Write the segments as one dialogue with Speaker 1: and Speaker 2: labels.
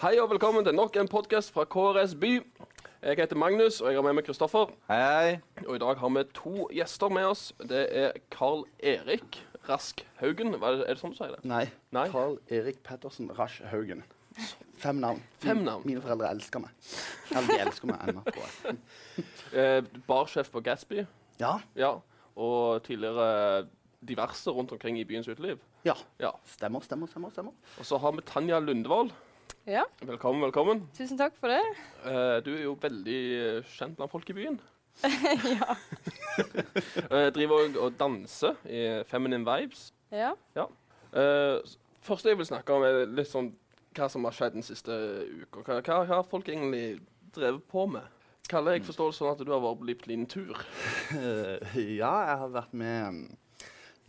Speaker 1: Hei og velkommen til nok en podkast fra KRS By. Jeg heter Magnus, og jeg har med meg Kristoffer.
Speaker 2: Hei.
Speaker 1: Og i dag har vi to gjester med oss. Det er Carl Erik Rask Haugen. Hva Er det, er det sånn du sier det?
Speaker 3: Nei.
Speaker 1: Nei?
Speaker 3: Carl Erik Pettersen Rasch Haugen. Fem navn.
Speaker 1: Fem
Speaker 3: Min-
Speaker 1: navn.
Speaker 3: Mine foreldre elsker meg. Eller de elsker meg ennå, tror jeg.
Speaker 1: Eh, barsjef på Gatsby.
Speaker 3: Ja.
Speaker 1: Ja. Og tidligere diverse rundt omkring i byens uteliv.
Speaker 3: ja.
Speaker 1: Ja.
Speaker 3: Stemmer, stemmer, stemmer. stemmer.
Speaker 1: Og så har vi Tanja Lundevold.
Speaker 4: Ja,
Speaker 1: Velkommen, velkommen.
Speaker 4: tusen takk for det.
Speaker 1: Eh, du er jo veldig eh, kjent blant folk i byen. ja. driver òg og danser i Feminine Vibes.
Speaker 4: Ja.
Speaker 1: Eh, s- første jeg vil snakke om, er litt sånn hva som har skjedd den siste uka. Hva, hva har folk egentlig drevet på med? Kalle,
Speaker 2: Mm.
Speaker 1: jeg forstår det sånn at du har vært på litt liten tur.
Speaker 3: Eh, ja, jeg har vært med mm,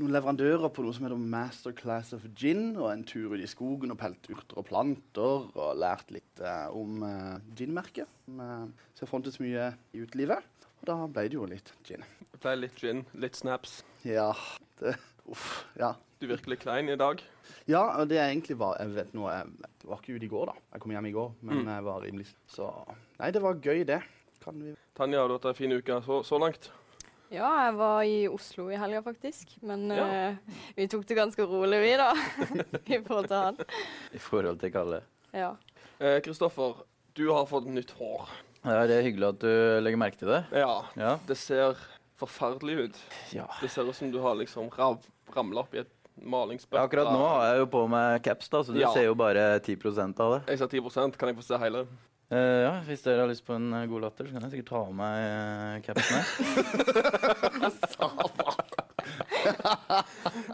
Speaker 3: noen leverandører på noe som heter Masterclass of Gin, og en tur ut i skogen og pelt urter og planter, og lært litt eh, om eh, ginmerket. Som eh, ser frontes mye i utelivet. Og da ble det jo litt gin.
Speaker 1: Det ble litt gin, litt snaps.
Speaker 3: Ja, det, uff, ja.
Speaker 1: Du er virkelig klein i dag.
Speaker 3: Ja, og det er egentlig var Jeg vet nå, jeg jeg var ikke ute i går, da. Jeg kom hjem i går, men
Speaker 1: Mm.
Speaker 3: jeg var rimelig Så Nei, det var gøy, det. Kan vi
Speaker 1: Tanja, har du hatt en fin uke så, så langt?
Speaker 4: ja, jeg var i Oslo i helga faktisk, men
Speaker 1: Ja.
Speaker 4: eh, vi tok det ganske rolig vi da, i forhold til han.
Speaker 2: I forhold til Kalle.
Speaker 4: Ja.
Speaker 1: Eh, Kristoffer, du har fått nytt hår.
Speaker 2: Ja, det er hyggelig at du legger merke til det.
Speaker 1: Ja.
Speaker 2: Ja.
Speaker 1: Det ser forferdelig ut.
Speaker 2: ja.
Speaker 1: Det ser ut som du har liksom rav, ramla opp i et malingsbøtte.
Speaker 2: Akkurat nå har jeg jo på meg caps, da, så du
Speaker 1: Ja.
Speaker 2: ser jo bare 10 av det.
Speaker 1: Jeg sa 10 kan jeg få se hele?
Speaker 2: Eh, ja, Hvis dere har lyst på en eh, god latter, så kan jeg sikkert ta av meg eh, capsen. her.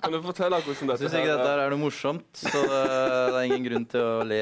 Speaker 1: Kan du fortelle hvordan
Speaker 2: Jeg
Speaker 1: dette
Speaker 2: syns ikke dette her er noe morsomt, så det, det er ingen grunn til å le.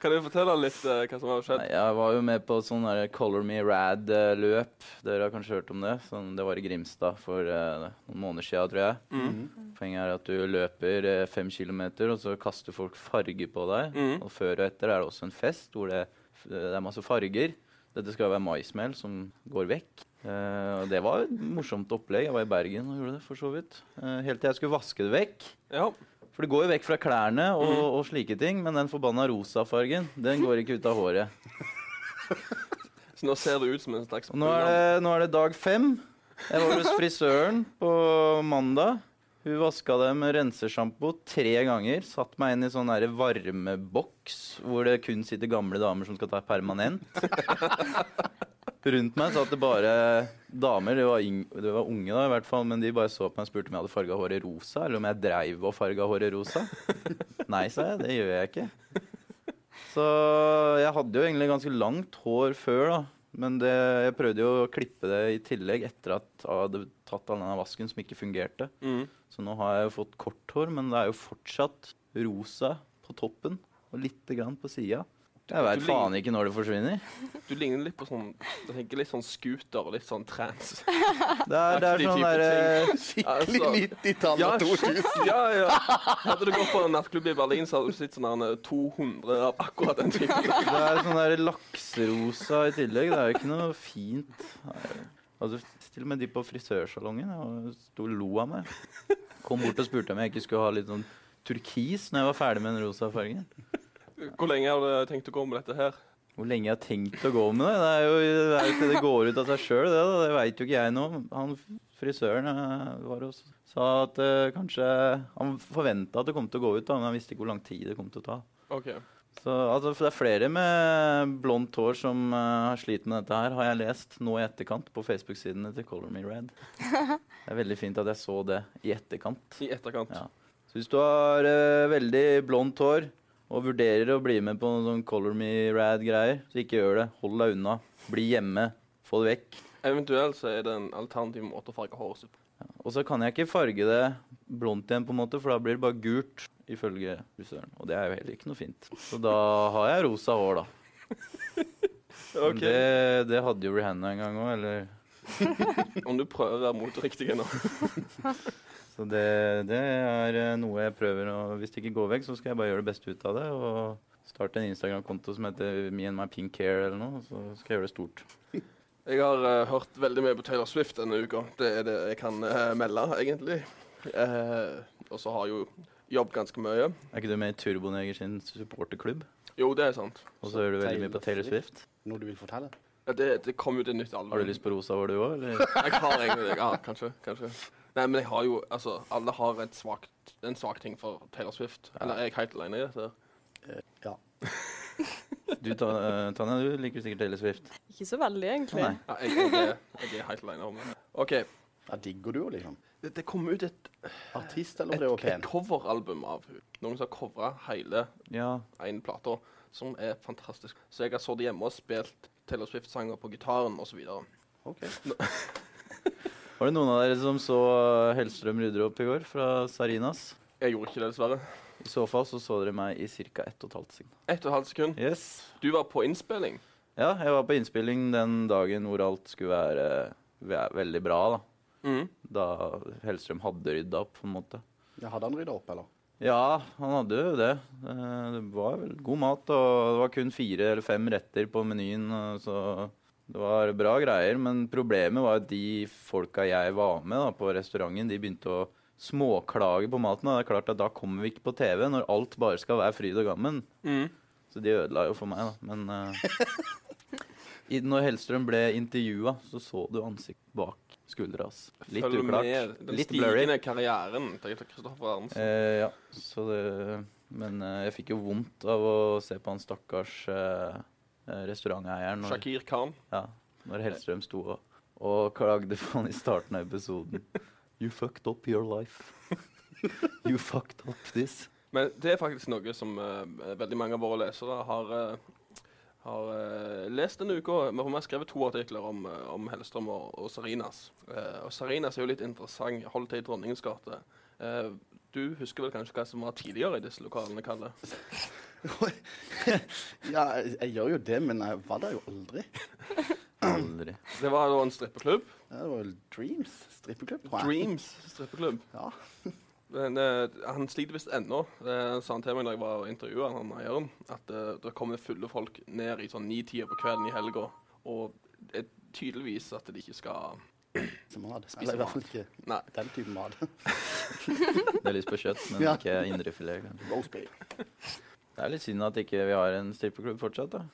Speaker 1: Kan du fortelle litt eh, hva som har skjedd?
Speaker 2: Nei, Jeg var jo med på sånn der Color Me Rad-løp. Dere har kanskje hørt om det? Sånn, det var i Grimstad for eh, noen måneder siden, tror jeg.
Speaker 1: Mm.
Speaker 3: Mm.
Speaker 2: Poenget er at du løper eh, fem kilometer, og så kaster folk farge på deg.
Speaker 1: Mhm.
Speaker 2: Mm. Og før og etter er det også en fest hvor det, det er masse farger. Dette skal være maismel som går vekk. Eh, og det var et morsomt opplegg. Jeg var i Bergen og gjorde det, for så vidt. Eh, helt til jeg skulle vaske det vekk.
Speaker 1: Ja.
Speaker 2: For det går jo vekk fra klærne og, og slike ting, men den forbanna rosafargen, den går ikke ut av håret.
Speaker 1: Så nå ser det ut som en slags
Speaker 2: Og nå er, det, nå er det dag fem. Jeg var hos frisøren på mandag. Hun vaska det med rensesjampo tre ganger. Satt meg inn i sånn der varmeboks hvor det kun sitter gamle damer som skal ta permanent. Rundt meg satt det bare damer. Det var, yng- det var unge, da, i hvert fall. Men de bare så på meg og spurte om jeg hadde farga håret rosa, eller om jeg dreiv og farga håret rosa. Nei, sa jeg. Det gjør jeg ikke. Så jeg hadde jo egentlig ganske langt hår før, da. Men det, jeg prøvde jo å klippe det i tillegg etter at jeg hadde tatt all denne vasken som ikke fungerte.
Speaker 1: Mm.
Speaker 2: Så nå har jeg jo fått kort hår, men det er jo fortsatt rosa på toppen og lite grann på sida. Jeg
Speaker 1: Du
Speaker 2: veit
Speaker 1: ligner-
Speaker 2: faen ikke når det forsvinner.
Speaker 1: Du ligner litt på sånn Jeg tenker litt sånn scooter og litt sånn trans.
Speaker 2: Det er, det er
Speaker 1: Aktig
Speaker 2: sånn
Speaker 1: type
Speaker 2: derre
Speaker 3: Skikkelig
Speaker 1: Altså,
Speaker 3: 90-tall
Speaker 1: ja,
Speaker 3: og 2000.
Speaker 1: ja, ja. Hadde du gått på en nattklubb i Berlin, så hadde du sett sånn her, eh, 200 av akkurat den typen.
Speaker 2: Det er sånn der lakserosa i tillegg. Det er jo ikke noe fint. Altså, til og med de på frisørsalongen jeg sto og lo av meg. Kom bort og spurte om jeg ikke skulle ha litt sånn turkis når jeg var ferdig med den rosa fargen.
Speaker 1: Hvor lenge har du tenkt å gå med dette her?
Speaker 2: Hvor lenge jeg har tenkt å gå med det? Det er jo, det, er jo ikke, det går ut av seg sjøl, det. da. Det veit jo ikke jeg nå. Han frisøren eh, var hos sa at eh, kanskje Han forventa at det kom til å gå ut, da, men han visste ikke hvor lang tid det kom til å ta.
Speaker 1: OK.
Speaker 2: Så altså, for Det er flere med blondt hår som eh, har slitt med dette her, har jeg lest nå i etterkant på Facebook-sidene til Color Me Red. Det er veldig fint at jeg så det i etterkant.
Speaker 1: I etterkant.
Speaker 2: Ja. Så hvis du har eh, veldig blondt hår og vurderer å bli med på noen sånn Color Me Rad-greier, så ikke gjør det. Hold deg unna. Bli hjemme. Få det vekk.
Speaker 1: Eventuelt så er det en alternativ måte å farge håret sitt på.
Speaker 2: Og så kan jeg ikke farge det blondt igjen, på en måte, for da blir det bare gult. Ifølge frisøren. Og det er jo heller ikke noe fint. Så da har jeg rosa hår, da. Men
Speaker 1: Ok.
Speaker 2: Det, det hadde jo Rihanna en gang òg, eller
Speaker 1: Om du prøver å være moteriktig nå.
Speaker 2: Så det, det er eh, noe jeg prøver å Hvis det ikke går vekk, så skal jeg bare gjøre det beste ut av det. Og starte en Instagram-konto som heter Me and my pink hair eller noe. Så skal jeg gjøre det stort.
Speaker 1: Jeg har eh, hørt veldig mye på Taylor Swift denne uka. Det er det jeg kan eh, melde, egentlig. Eh, og så har jo jobb ganske mye.
Speaker 2: Er ikke du med i Turboneger sin supporterklubb?
Speaker 1: Jo, det er sant.
Speaker 2: Og så hører du veldig mye på
Speaker 3: Taylor
Speaker 2: Taylor Swift.
Speaker 3: Noe du vil fortelle?
Speaker 1: Ja, det, det kom jo til nytt album.
Speaker 2: Har du lyst på rosa hår, du òg, eller?
Speaker 1: Jeg har egentlig det. Ja, kanskje. kanskje. Nei, men jeg har jo Altså, alle har et svagt, en svak ting for Taylor Swift.
Speaker 2: Ja.
Speaker 1: Eller er jeg helt alene i dette?
Speaker 3: Ja.
Speaker 2: Du, Ta- eh, Tanja, du liker sikkert Taylor Swift.
Speaker 4: Ikke så veldig, egentlig.
Speaker 2: Nei.
Speaker 1: Ja, jeg, jeg, er- jeg er helt alene om det. OK.
Speaker 3: Ja, digger du jo, liksom?
Speaker 1: Det, det kom ut et,
Speaker 3: Artist, eller
Speaker 1: et,
Speaker 3: blir du pen?
Speaker 1: et coveralbum av hun. Noen som har covra hele
Speaker 2: Ja.
Speaker 1: én plate, som er fantastisk. Så jeg har sittet hjemme og spilt Taylor Swift-sanger på gitaren osv.
Speaker 3: Ok.
Speaker 2: Var det noen av dere som så eh, Hellstrøm rydder opp i går fra Sarinas?
Speaker 1: Jeg gjorde ikke det, dessverre.
Speaker 2: I så fall så, så dere meg i ca. ett og et halvt sekund.
Speaker 1: Ett og et halvt sekund.
Speaker 2: Yes.
Speaker 1: Du var på innspilling.
Speaker 2: Ja, jeg var på innspilling den dagen hvor alt skulle være eh, ve- veldig bra, da.
Speaker 1: Mm.
Speaker 2: Da Hellstrøm hadde rydda opp, på en måte.
Speaker 3: Ja, hadde han rydda opp, eller?
Speaker 2: Ja, han hadde jo det. Eh, Det var vel god mat, og det var kun fire eller fem retter på menyen. og Så det var bra greier. Men problemet var at de folka jeg var med da, på restauranten, de begynte å småklage på maten. Og det er klart at da kommer vi ikke på TV når alt bare skal være fryd og gammen.
Speaker 1: Mm.
Speaker 2: Så de ødela jo for meg, da. Men eh, i- når Hellstrøm ble intervjua, så så du ansiktet bak skuldra hans. Litt
Speaker 1: Følg
Speaker 2: uklart.
Speaker 1: med den
Speaker 2: Litt blurry.
Speaker 1: stigende karrieren til Kristoffer Arnsen.
Speaker 2: Eh, ja, så det Men eh, jeg fikk jo vondt av å se på han stakkars eh, eh, restauranteieren når,
Speaker 1: Shakir Khan.
Speaker 2: ja, når Hellstrøm sto og, og klagde på han i starten av episoden. You fucked up your life. You fucked up this.
Speaker 1: Men det er faktisk noe som eh, veldig mange av våre lesere har, eh, har eh, lest denne uka. Vi har- vi har skrevet to artikler om, eh, om Hellstrøm og, og Sarinas. Eh, og Sarinas er jo litt interessant. Holdt til i Dronningens gate. Eh, du husker vel kanskje hva som var tidligere i disse lokalene, Kalle?
Speaker 3: ja, jeg, jeg gjør jo det, men jeg var der jo aldri.
Speaker 2: Aldri.
Speaker 1: Det var da en strippeklubb.
Speaker 3: Ja, Det var jo Dreams strippeklubb, tror jeg.
Speaker 1: Dreams strippeklubb.
Speaker 3: Ja.
Speaker 1: Men, eh, han sliter visst ennå. Det sa han til meg da jeg var og intervjua han eieren, at eh, det kommer fulle folk ned i sånn ni-tida på kvelden i helga. Og det er tydeligvis at de ikke skal
Speaker 3: Spise mat.
Speaker 1: Spise
Speaker 3: Eller i hvert fall
Speaker 1: mat.
Speaker 3: ikke
Speaker 1: Nei.
Speaker 3: den typen mat.
Speaker 2: Det er lyst på kjøtt, men
Speaker 3: Ja.
Speaker 2: ikke indrefilet. kanskje.
Speaker 3: Roast beef.
Speaker 2: Det er litt synd at ikke vi har en strippeklubb fortsatt. da.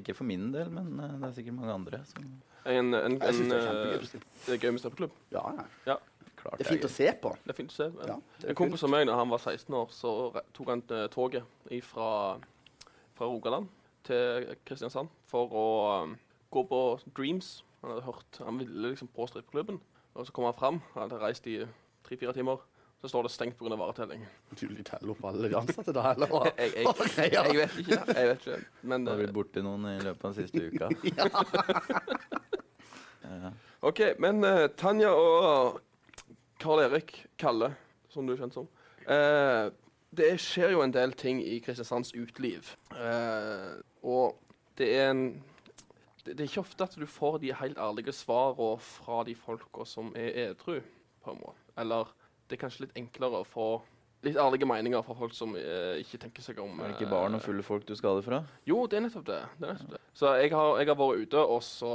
Speaker 2: Ikke for min del, men eh, det er sikkert mange andre som
Speaker 1: En, en,
Speaker 3: Jeg
Speaker 1: en,
Speaker 3: syns det
Speaker 1: eh,
Speaker 3: er kjempegøy. å strippe.
Speaker 1: det er gøy med steppeklubb.
Speaker 3: Ja, ja.
Speaker 2: klart
Speaker 3: Det er fint å se på.
Speaker 1: Det er fint å se.
Speaker 3: Ja, det er
Speaker 1: en kompis av meg, da han var 16 år, så re- tok han eh, toget fra, fra Rogaland til Kristiansand for å eh, gå på Dreams. Han hadde hørt, han ville liksom på strippeklubben, og så kom han fram. Han hadde reist i tre-fire timer. Så står det stengt pga. varetelling.
Speaker 3: Tydelig teller opp alle de ansatte da, eller hva?
Speaker 1: Jeg, jeg,
Speaker 3: Hva greier?
Speaker 1: jeg vet ikke. Jeg vet ikke. Men
Speaker 2: Det har
Speaker 1: eh,
Speaker 2: blitt borti noen i løpet av den siste Eh, uka. Ja.
Speaker 1: OK. Men eh, Tanja og eh, Karl Erik Kalle, som du er kjent som eh, Det skjer jo en del ting i Kristiansands uteliv. Eh, og det er en det, det er ikke ofte at du får de helt ærlige svarene fra de folka som er edru, på en måte. Eller det er kanskje litt enklere å få litt ærlige meninger fra folk som eh, ikke tenker seg om.
Speaker 2: Er det ikke barn og
Speaker 1: eh,
Speaker 2: fulle folk du skal ha det fra?
Speaker 1: Jo, det er nettopp det. det, er nettopp det. Så jeg har, jeg har vært ute, og så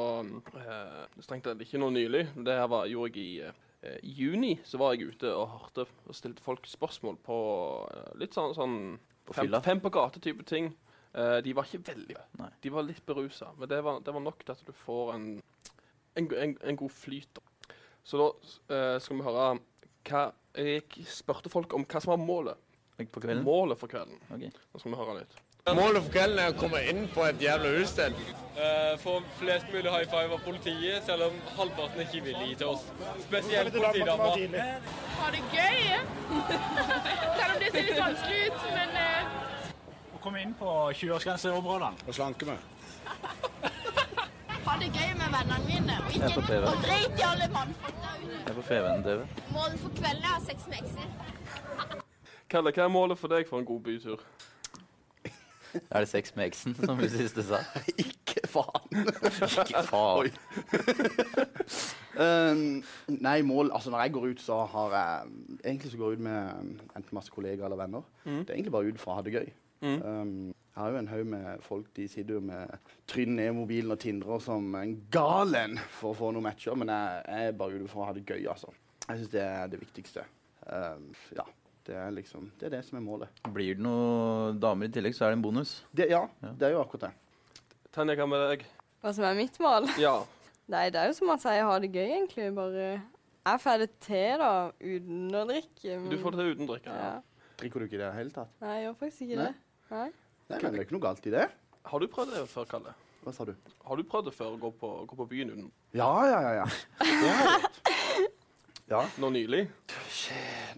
Speaker 1: eh, Strengt tatt ikke noe nylig. men Det her var, gjorde jeg i eh, i juni. Så var jeg ute og hørte og stilte folk spørsmål på eh, litt sånn, sånn
Speaker 2: På
Speaker 1: fem,
Speaker 2: fylla?
Speaker 1: fem på gate-type ting. Eh, de var ikke veldig
Speaker 2: Nei.
Speaker 1: De var litt berusa, men det var, det var nok til at du får en, en, go- en, en god flyt. da. Så da eh, skal vi høre hva Jeg spurte folk om hva som var målet.
Speaker 2: Ikke på kvelden?
Speaker 1: Målet for kvelden.
Speaker 2: Ok.
Speaker 1: Nå skal vi høre litt.
Speaker 5: Målet for kvelden er å komme inn på et jævla utested.
Speaker 6: Eh, Få flest mulig high five av politiet, selv om halvparten ikke vil gi til oss. Spesielt politidama.
Speaker 7: ha det gøy. Selv om det ser litt vanskelig ut, men eh,
Speaker 8: Å komme inn på 20-årsgrenseområdene.
Speaker 9: og slanke meg.
Speaker 10: ha det gøy med vennene mine. Og
Speaker 2: Jeg er på
Speaker 10: ikke
Speaker 2: TV.
Speaker 10: og drit i alle mannfolk der ute.
Speaker 2: Jeg er på FVN-TV.
Speaker 10: Målet for kvelden er sex med eksen.
Speaker 1: Kalle, hva er målet for deg for en god bytur?
Speaker 2: Er det sex med eksen, som vi siste sa?
Speaker 3: Ikke faen.
Speaker 2: Ikke faen.
Speaker 3: Um, nei, mål Altså, når jeg går ut, så har jeg Egentlig så går jeg ut med um, enten masse kollegaer eller venner.
Speaker 1: Mm.
Speaker 3: Det er egentlig bare ut for å ha det gøy. Um, jeg har jo en haug med folk de sitter jo med trynet ned i mobilen og tindrer som en galen for å få noen matcher, men jeg, jeg er bare ute for å ha det gøy, altså. Jeg syns det er det viktigste. Um, ja. Det er liksom, det er det som er målet.
Speaker 2: Blir det noen damer i tillegg, så er det en bonus.
Speaker 3: Det, ja,
Speaker 2: Ja.
Speaker 3: det er jo akkurat det.
Speaker 1: Tanja, hva med deg?
Speaker 4: Hva som er mitt mål?
Speaker 1: Ja.
Speaker 4: Nei, det er jo som han sier, ha det gøy, egentlig. Bare Jeg får det til, da, uten å drikke. men-
Speaker 1: Du får det til uten drikke.
Speaker 4: Ja.
Speaker 1: Ja.
Speaker 3: Drikker du ikke i det hele tatt?
Speaker 4: Nei, jeg gjør faktisk ikke
Speaker 3: Nei?
Speaker 4: det. Nei.
Speaker 3: Nei, men det er ikke noe galt i det.
Speaker 1: Har du prøvd det før, Kalle?
Speaker 3: Hva sa du?
Speaker 1: Har du prøvd det før å gå på, gå på byen uten
Speaker 3: Ja, ja, ja. ja. Det har jeg gjort. Ja.
Speaker 1: nå nylig?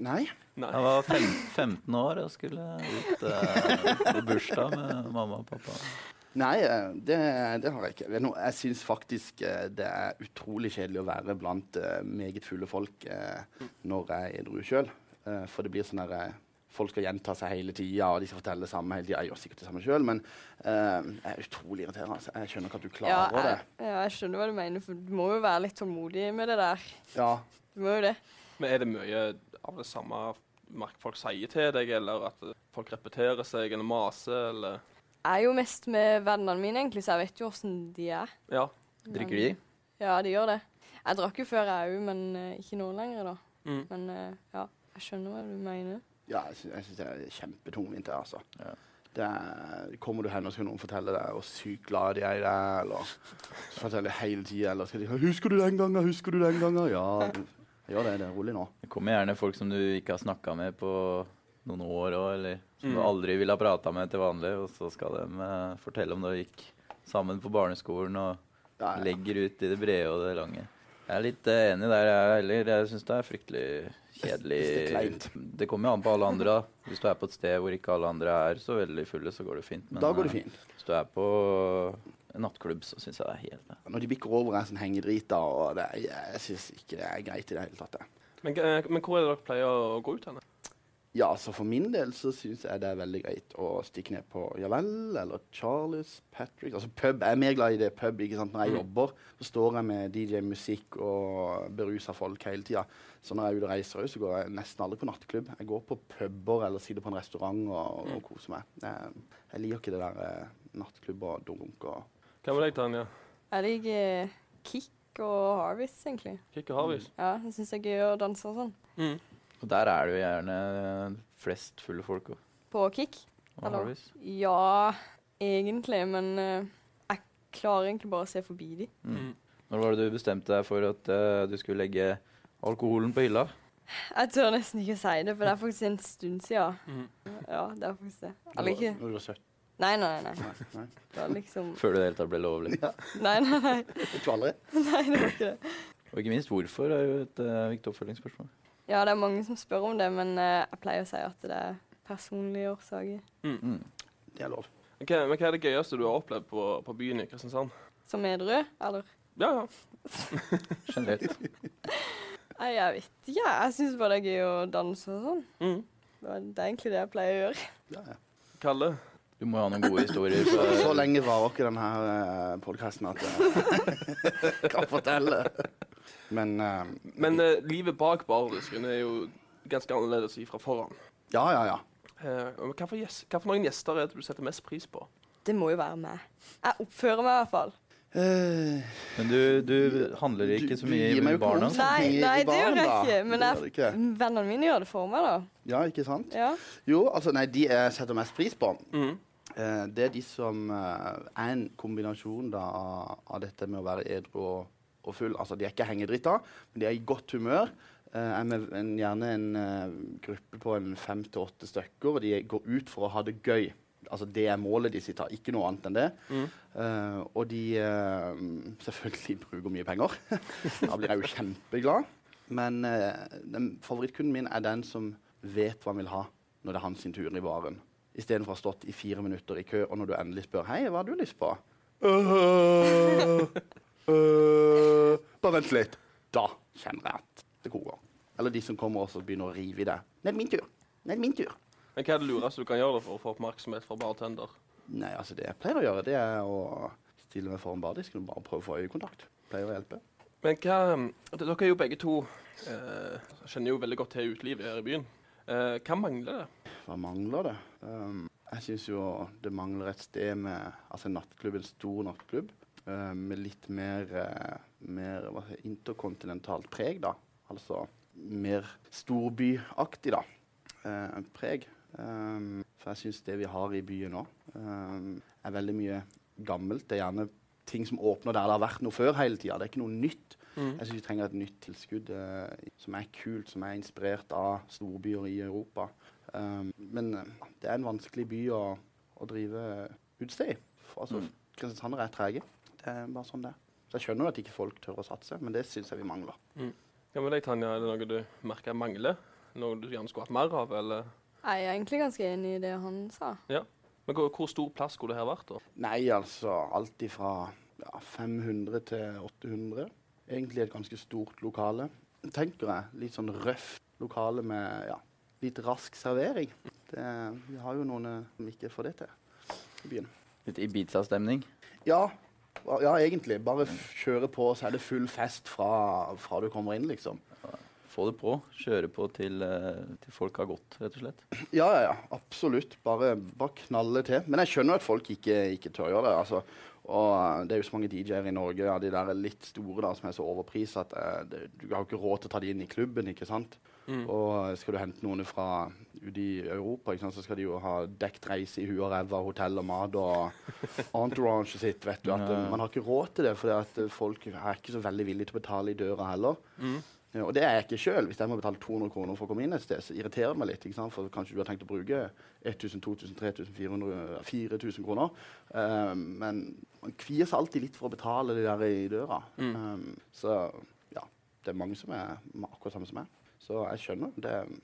Speaker 3: Nei.
Speaker 2: Jeg var fem, 15 år og skulle ut eh, på bursdag med mamma og pappa.
Speaker 3: Nei, eh, det, det har jeg ikke. Vet du noe, Jeg syns faktisk eh, det er utrolig kjedelig å være blant eh, meget fulle folk eh, når jeg er edru sjøl. For det blir sånn der eh, Folk skal gjenta seg hele tida, og de skal fortelle det samme hele tida. Jeg gjør sikkert det samme sjøl, men eh, jeg er utrolig irriterende. Altså. Jeg skjønner ikke at du
Speaker 4: Ja,
Speaker 3: klarer
Speaker 4: jeg, ja, jeg skjønner hva du mener, for du må jo være litt tålmodig med det der.
Speaker 3: det. Ja.
Speaker 4: Du må jo det.
Speaker 1: Men er det mye av det samme merk folk sier til deg, eller at folk repeterer seg eller maser, eller
Speaker 4: Jeg er jo mest med vennene mine, egentlig, så jeg vet jo åssen de er.
Speaker 1: Ja.
Speaker 2: Drikker de?
Speaker 4: Ja, de gjør det. Jeg drakk jo før, jeg òg, men eh, ikke nå lenger, da.
Speaker 1: Mm.
Speaker 4: Men eh, ja, jeg skjønner hva du mener.
Speaker 3: Ja, jeg syns, jeg syns det er kjempetungvint, det, altså.
Speaker 2: Ja.
Speaker 3: Det er, kommer du hen, og skal noen fortelle deg hvor sykt glad de er i deg, eller fortelle hele tida, eller skal de si 'Husker du den gangen? Husker du den gangen?' Ja, du- jeg gjør det. Det er rolig nå.
Speaker 2: Det kommer gjerne folk som du ikke har snakka med på noen år òg, eller som du
Speaker 1: Mm.
Speaker 2: aldri ville ha prata med til vanlig, og så skal de eh, fortelle om da vi gikk sammen på barneskolen og
Speaker 3: Ja, ja.
Speaker 2: legger ut i det brede og det lange. Jeg er litt eh, enig der, jeg heller. Jeg syns det er fryktelig kjedelig.
Speaker 3: Det er kleint.
Speaker 2: Det kommer jo an på alle andre. da. Hvis du er på et sted hvor ikke alle andre er så veldig fulle, så går det fint. Men
Speaker 3: Da går det
Speaker 2: eh,
Speaker 3: fint.
Speaker 2: hvis du er på en nattklubb, så syns jeg det er helt
Speaker 3: Når de bikker over, er jeg sånn hengedrit, da, og det, er- jeg syns ikke det er greit i det hele tatt. det.
Speaker 1: Men, eh, men hvor er det dere pleier å gå ut hen?
Speaker 3: Ja, så for min del så syns jeg det er veldig greit å stikke ned på Ja vel eller Charles, Patrick Altså pub. Jeg er mer glad i det pub. ikke sant? Når jeg jobber, så står jeg med DJ-musikk og berusa folk hele tida. Så når jeg er ute og reiser òg, så går jeg nesten aldri på nattklubb. Jeg går på puber eller sitter på en restaurant og, og koser meg. Jeg, jeg liker ikke det der eh, nattklubb og dunk og
Speaker 1: Hva med deg, Tanja?
Speaker 4: Jeg liker eh, Kick og Harvest, egentlig.
Speaker 1: Kikke Harvis?
Speaker 4: Ja, jeg syns det er gøy å danse og sånn.
Speaker 2: Og der er det jo gjerne flest fulle folk òg.
Speaker 4: På Kick. Hallo. Ja, egentlig, men eh, jeg klarer egentlig bare å se forbi de.
Speaker 2: Mm. Når var det du bestemte deg for at eh, du skulle legge alkoholen på hylla?
Speaker 4: Jeg tør nesten ikke si det, for det er faktisk en stund siden.
Speaker 1: Mhm.
Speaker 4: Ja, det er faktisk det. Eller ikke
Speaker 3: Når du er 17.
Speaker 4: Nei, nei, nei. nei.
Speaker 3: Nei.
Speaker 4: Det var liksom
Speaker 2: Før det i det hele tatt ble lovlig.
Speaker 4: Nei, nei, nei.
Speaker 3: Vet du aldri?
Speaker 4: nei det var ikke det.
Speaker 2: Og ikke minst hvorfor er jo et eh, viktig oppfølgingsspørsmål.
Speaker 4: Ja, det er mange som spør om det, men eh, jeg pleier å si at det er personlige årsaker.
Speaker 2: Mm.
Speaker 3: Det er lov.
Speaker 1: Ok, men Hva er det gøyeste du har opplevd på, på byen i Kristiansand?
Speaker 4: Som edru, eller?
Speaker 1: Ja, ja.
Speaker 2: Generelt.
Speaker 4: Nei, jeg vet ikke. Ja, jeg syns bare det er gøy å danse og sånn.
Speaker 1: Mm.
Speaker 4: Det er det er egentlig det jeg pleier å gjøre.
Speaker 3: Ja, ja.
Speaker 1: Kalle?
Speaker 2: Du må jo ha noen gode historier.
Speaker 3: Så
Speaker 2: For,
Speaker 3: lenge varer ikke denne her podkasten at jeg kan fortelle. Men eh,
Speaker 1: Men eh, livet bak bardisken er jo ganske annerledes fra foran.
Speaker 3: ja, ja, ja.
Speaker 1: Eh, men hva, for gjes- hva for noen gjester er det du setter mest pris på?
Speaker 4: Det må jo være meg. Jeg oppfører meg i hvert fall.
Speaker 3: Eh,
Speaker 2: men du, du handler ikke så
Speaker 3: du
Speaker 2: mye
Speaker 3: gir meg
Speaker 2: med
Speaker 3: jo
Speaker 2: barna.
Speaker 3: kos.
Speaker 4: Nei,
Speaker 3: Gi
Speaker 4: nei,
Speaker 3: barn,
Speaker 4: det gjør
Speaker 3: da.
Speaker 4: jeg ikke. Men
Speaker 3: Det gjør
Speaker 4: jeg,
Speaker 3: du
Speaker 4: vennene mine gjør det for meg, da.
Speaker 3: ja, ikke sant?
Speaker 4: Ja.
Speaker 3: Jo, altså, nei, de jeg setter mest pris på,
Speaker 1: Mm.
Speaker 3: eh, det er de som eh, er en kombinasjon da, av- av dette med å være edru og, og full. Altså, de er ikke hengedrita, men de er i godt humør. Eh, er med en, gjerne en eh, gruppe på en fem til åtte stykker, og de går ut for å ha det gøy. Altså, det er målet de sitter, ikke noe annet enn det.
Speaker 1: Mm.
Speaker 3: Eh, og de eh, selvfølgelig bruker mye penger. da blir jeg jo kjempeglad. Men eh, den, favorittkunden min er den som vet hva han vil ha når det er hans sin tur i baren. Istedenfor å ha stått i fire minutter i kø, og når du endelig spør Hei, hva har du lyst på? Eh, «Øh, øh, Bare vent litt. Da kjenner jeg at det koker. Eller de som kommer også og begynner å rive i det. Nå er det min tur. Nå er det min tur.
Speaker 1: Men Hva er det lureste du kan gjøre for å få oppmerksomhet fra bartender?
Speaker 3: Nei, altså det jeg pleier å gjøre, det er å stille meg foran bardisken og bare prøve å få øyekontakt. Pleier å hjelpe.
Speaker 1: Men hva, ehm, d- Dere er jo begge to eh, kjenner jo veldig godt til utelivet her i byen. Eh, hva mangler det?
Speaker 3: Hva mangler det? Um, jeg syns jo det mangler et sted med altså en nattklubb, en stor nattklubb, eh, med litt mer, eh, mer hva heter, det, interkontinentalt preg, da. Altså mer storbyaktig, da. eh, preg. Um, for jeg syns det vi har i byen nå, um, er veldig mye gammelt. Det er gjerne ting som åpner der det har vært noe før hele tida. Det er ikke noe nytt. Jeg syns vi trenger et nytt tilskudd eh, som er kult, som er inspirert av storbyer i Europa. Um, men eh, det er en vanskelig by å, å drive utested i. For, Altså,
Speaker 2: Mm.
Speaker 3: Kristiansandere er trege. Det er bare sånn det er. Så jeg skjønner jo at ikke folk tør å satse, men det syns jeg vi mangler.
Speaker 1: Hva med deg, Tanja? Er det noe du merker mangler? Noe du gjerne skulle hatt mer av? eller?
Speaker 4: Nei, Jeg er egentlig ganske enig i det han sa.
Speaker 1: Men hvor, hvor stor plass skulle det her vært? da?
Speaker 3: Nei, altså alt ifra ja, 500 til 800. Egentlig et ganske stort lokale. Tenker jeg. Litt sånn røft lokale med ja, litt rask servering. Det, vi har jo noen eh, som ikke får det til i byen.
Speaker 2: Litt Ibiza-stemning.
Speaker 3: Ja, ja, ja, egentlig. Bare f- kjøre på, så er det full fest fra, fra du kommer inn, liksom.
Speaker 2: Få det på. Kjøre på til, eh, til folk har gått, rett og slett.
Speaker 3: Ja, ja, ja. Absolutt. Bare, bare knalle til. Men jeg skjønner at folk ikke, ikke tør gjøre det. altså. Og eh, Det er jo så mange DJ-er i Norge av de der er litt store da, som er så overprisa at eh, det, du har jo ikke råd til å ta de inn i klubben. ikke sant? Og eh, skal du hente noen fra ute i Europa, ikke sant? så skal de jo ha dekt reise i huet og ræva, hotell og mat og entourage sitt. vet du. At, eh,
Speaker 2: Ja.
Speaker 3: man har ikke råd til det, for folk er ikke så veldig villige til å betale i døra heller. Ja, og det er jeg ikke sjøl. Hvis jeg må betale 200 kroner for å komme inn et sted, så irriterer det meg litt. ikke sant? For kanskje du har tenkt å bruke 1000, 2000, 3000, 400, 4000 kroner. Eh, men man kvier seg alltid litt for å betale det der i døra. Eh, så ja, det er mange som er ma- akkurat samme som meg. Så jeg skjønner. Det,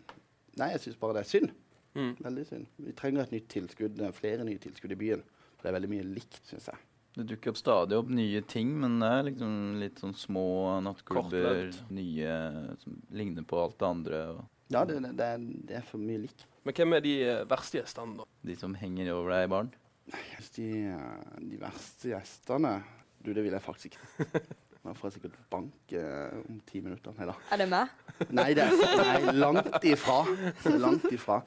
Speaker 3: nei, jeg syns bare det er synd.
Speaker 1: Mm.
Speaker 3: Veldig synd. Vi trenger et nytt tilskudd, eh, flere nye tilskudd i byen. For det er veldig mye likt, syns jeg.
Speaker 2: Det dukker opp stadig opp nye ting, men det er liksom litt sånn små nattklubber.
Speaker 1: Kortlevd.
Speaker 2: Nye som ligner på alt det andre. Og
Speaker 3: Ja, det, det, det, er, det er for mye likt.
Speaker 1: Men hvem er de eh, verste gjestene, da?
Speaker 2: de som henger over deg i baren.
Speaker 3: Jeg synes De, eh, de verste gjestene Du, det vil jeg faktisk ikke. Nå får jeg sikkert bank eh, om ti minutter. Nei da.
Speaker 4: Er det meg?
Speaker 3: Nei, det er nei, langt ifra. Langt ifra.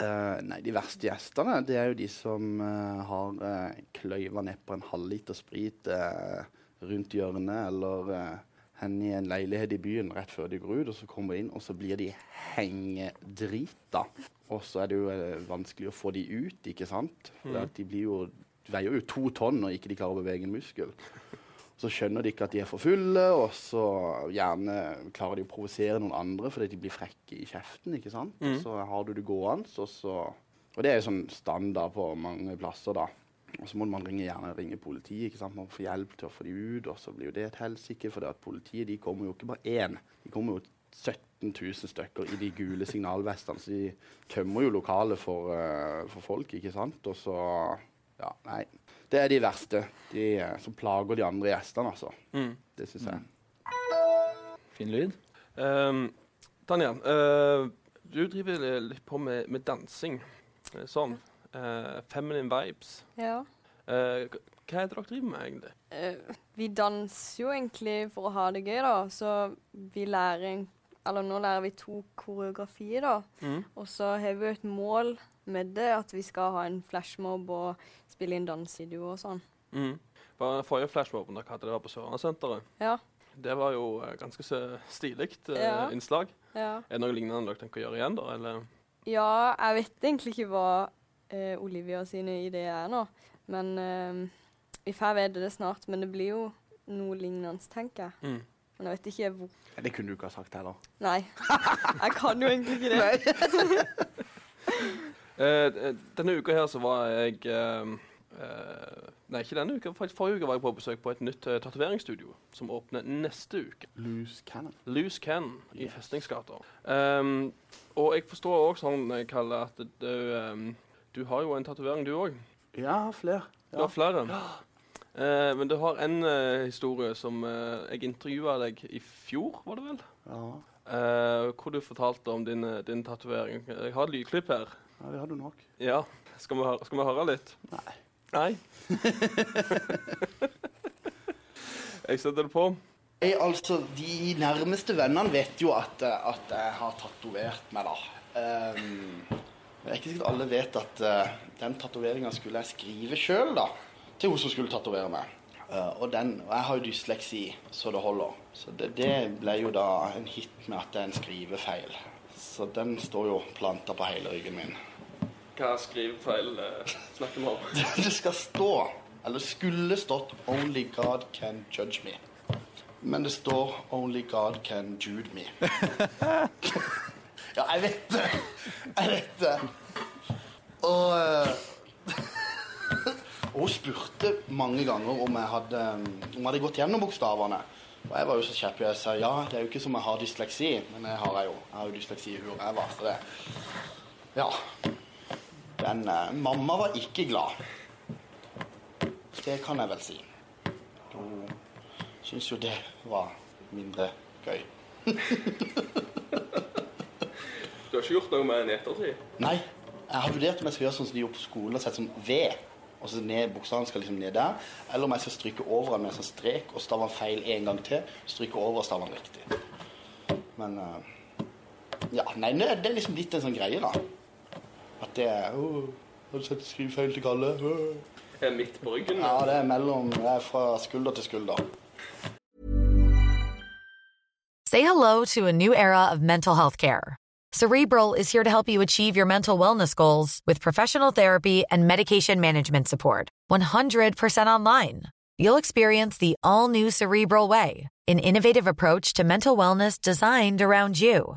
Speaker 3: Eh, nei, de verste gjestene det er jo de som eh, har uh, kløyva ned på en halvliter sprit eh, rundt hjørnet, eller uh, hen i en leilighet i byen rett før de går ut, og så kommer de inn, og så blir de hengedrita. Og så er det jo eh, vanskelig å få de ut, ikke sant? For at de blir jo, de veier jo to tonn når ikke de klarer å bevege en muskel. Så skjønner de ikke at de er for fulle, og så gjerne klarer de å provosere noen andre fordi de blir frekke i kjeften. ikke sant? Og Så har du det gående, og så Og det er jo sånn standard på mange plasser, da. Og så må man ringe, gjerne ringe politiet. ikke sant? Man får hjelp til å få de ut, og så blir jo det et helsike. For det at politiet de kommer jo ikke bare én, de kommer jo 17 000 stykker i de gule signalvestene. Så de tømmer jo lokalet for, eh, for folk, ikke sant? Og så Ja, nei. Det er de verste. De eh, som plager de andre gjestene, altså. Det syns jeg.
Speaker 2: Fin lyd.
Speaker 1: Ehm, Tanja, eh, du driver li- litt på med, med dansing. eh, Sånn. Eh, feminine vibes.
Speaker 4: Ja.
Speaker 1: Eh, k- hva er det dere driver med, egentlig?
Speaker 4: Eh, vi danser jo egentlig for å ha det gøy, da. Så vi lærer en- Eller nå lærer vi to koreografier, da. Og så har vi jo et mål med det, at vi skal ha en flashmob og spille inn dansevideo og sånn.
Speaker 1: Mm. Bare Forrige flashmoben dere hadde, det var på Sørlandssenteret.
Speaker 4: Ja.
Speaker 1: Det var jo eh, ganske så stilig eh,
Speaker 4: Ja.
Speaker 1: innslag.
Speaker 4: Ja.
Speaker 1: Er det noe lignende dere tenker å gjøre igjen, da? Eller?
Speaker 4: ja, jeg vet egentlig ikke hva eh, Olivia sine ideer er nå. Men eh, vi får vite det snart. Men det blir jo noe lignende, tenker jeg.
Speaker 1: Mm.
Speaker 4: Men jeg vet ikke hvor
Speaker 3: Nei, Det kunne du ikke ha sagt heller.
Speaker 4: Nei. Jeg kan jo egentlig ikke det.
Speaker 1: Eh, d- denne uka her så var jeg eh, eh, Nei, ikke denne uka. Faktisk forrige uke var jeg på besøk på et nytt eh, tatoveringsstudio som åpner neste uke.
Speaker 3: Loose cannon.
Speaker 1: Loose Can i
Speaker 3: Yes.
Speaker 1: Festningsgata. Ehm, og jeg forstår òg sånn, eh, Kalle, at du, ehm, du har jo en tatovering, du òg.
Speaker 3: Ja, flere.
Speaker 1: Du har flere. Eh, men du har en eh, historie som eh, jeg intervjua deg i fjor, var det vel?
Speaker 3: Ja.
Speaker 1: Eh, hvor du fortalte om din, eh, din tatovering. Jeg har et lydklipp her.
Speaker 3: ja, vi hadde nok.
Speaker 1: Ja, skal vi, høre, skal vi høre litt?
Speaker 3: Nei.
Speaker 1: Nei? jeg setter det på.
Speaker 3: Jeg, altså, De nærmeste vennene vet jo at, eh, at jeg har tatovert meg, da. Ehm, men det er ikke sikkert alle vet at eh, den tatoveringa skulle jeg skrive sjøl, da. Til hun som skulle tatovere meg. Eh, og, den, og jeg har jo dysleksi, så det holder. Så det, det ble jo da en hit med at det er en skrivefeil. Så den står jo planta på hele ryggen min.
Speaker 1: Hva skrivefeil eh, snakker vi om?
Speaker 3: Det skal stå, eller skulle stått, 'Only God can judge me'. Men det står 'Only God can jude me'. ja, jeg vet det. Jeg vet det. Og eh, Og hun spurte mange ganger om jeg hadde, eh, om jeg hadde gått gjennom bokstavene. Og jeg var jo så kjepp og jeg sa ja, det er jo ikke som jeg har dysleksi. Men jeg har jeg jo. Jeg har jo dysleksi i huet jeg var. Så det Ja. Den eh, Mamma var ikke glad. Det kan jeg vel si. Hun syns jo det var mindre gøy.
Speaker 1: Du har ikke gjort noe med den i ettertid?
Speaker 3: Nei, jeg har vurdert om jeg skal gjøre sånn som de gjorde på skolen, og sette sånn V. Og så ned, Bokstaven skal liksom ned der. Eller om jeg skal stryke over den med en sånn strek og stave den feil en gang til. Stryke over og stave den riktig. Men eh, Ja, nei, det det er liksom litt en sånn greie, da. At det er «Åh, Har du sett skrivefeil til Kalle? Åh».
Speaker 1: Er midt på ryggen?
Speaker 3: Ja, det er mellom Det er fra skulder til skulder.
Speaker 9: Say hello to a new era of mental health care. Cerebral is here to help you achieve your mental wellness goals with professional therapy and medication management support. 100% online. You'll experience the all new Cerebral Way, an innovative approach to mental wellness designed around you.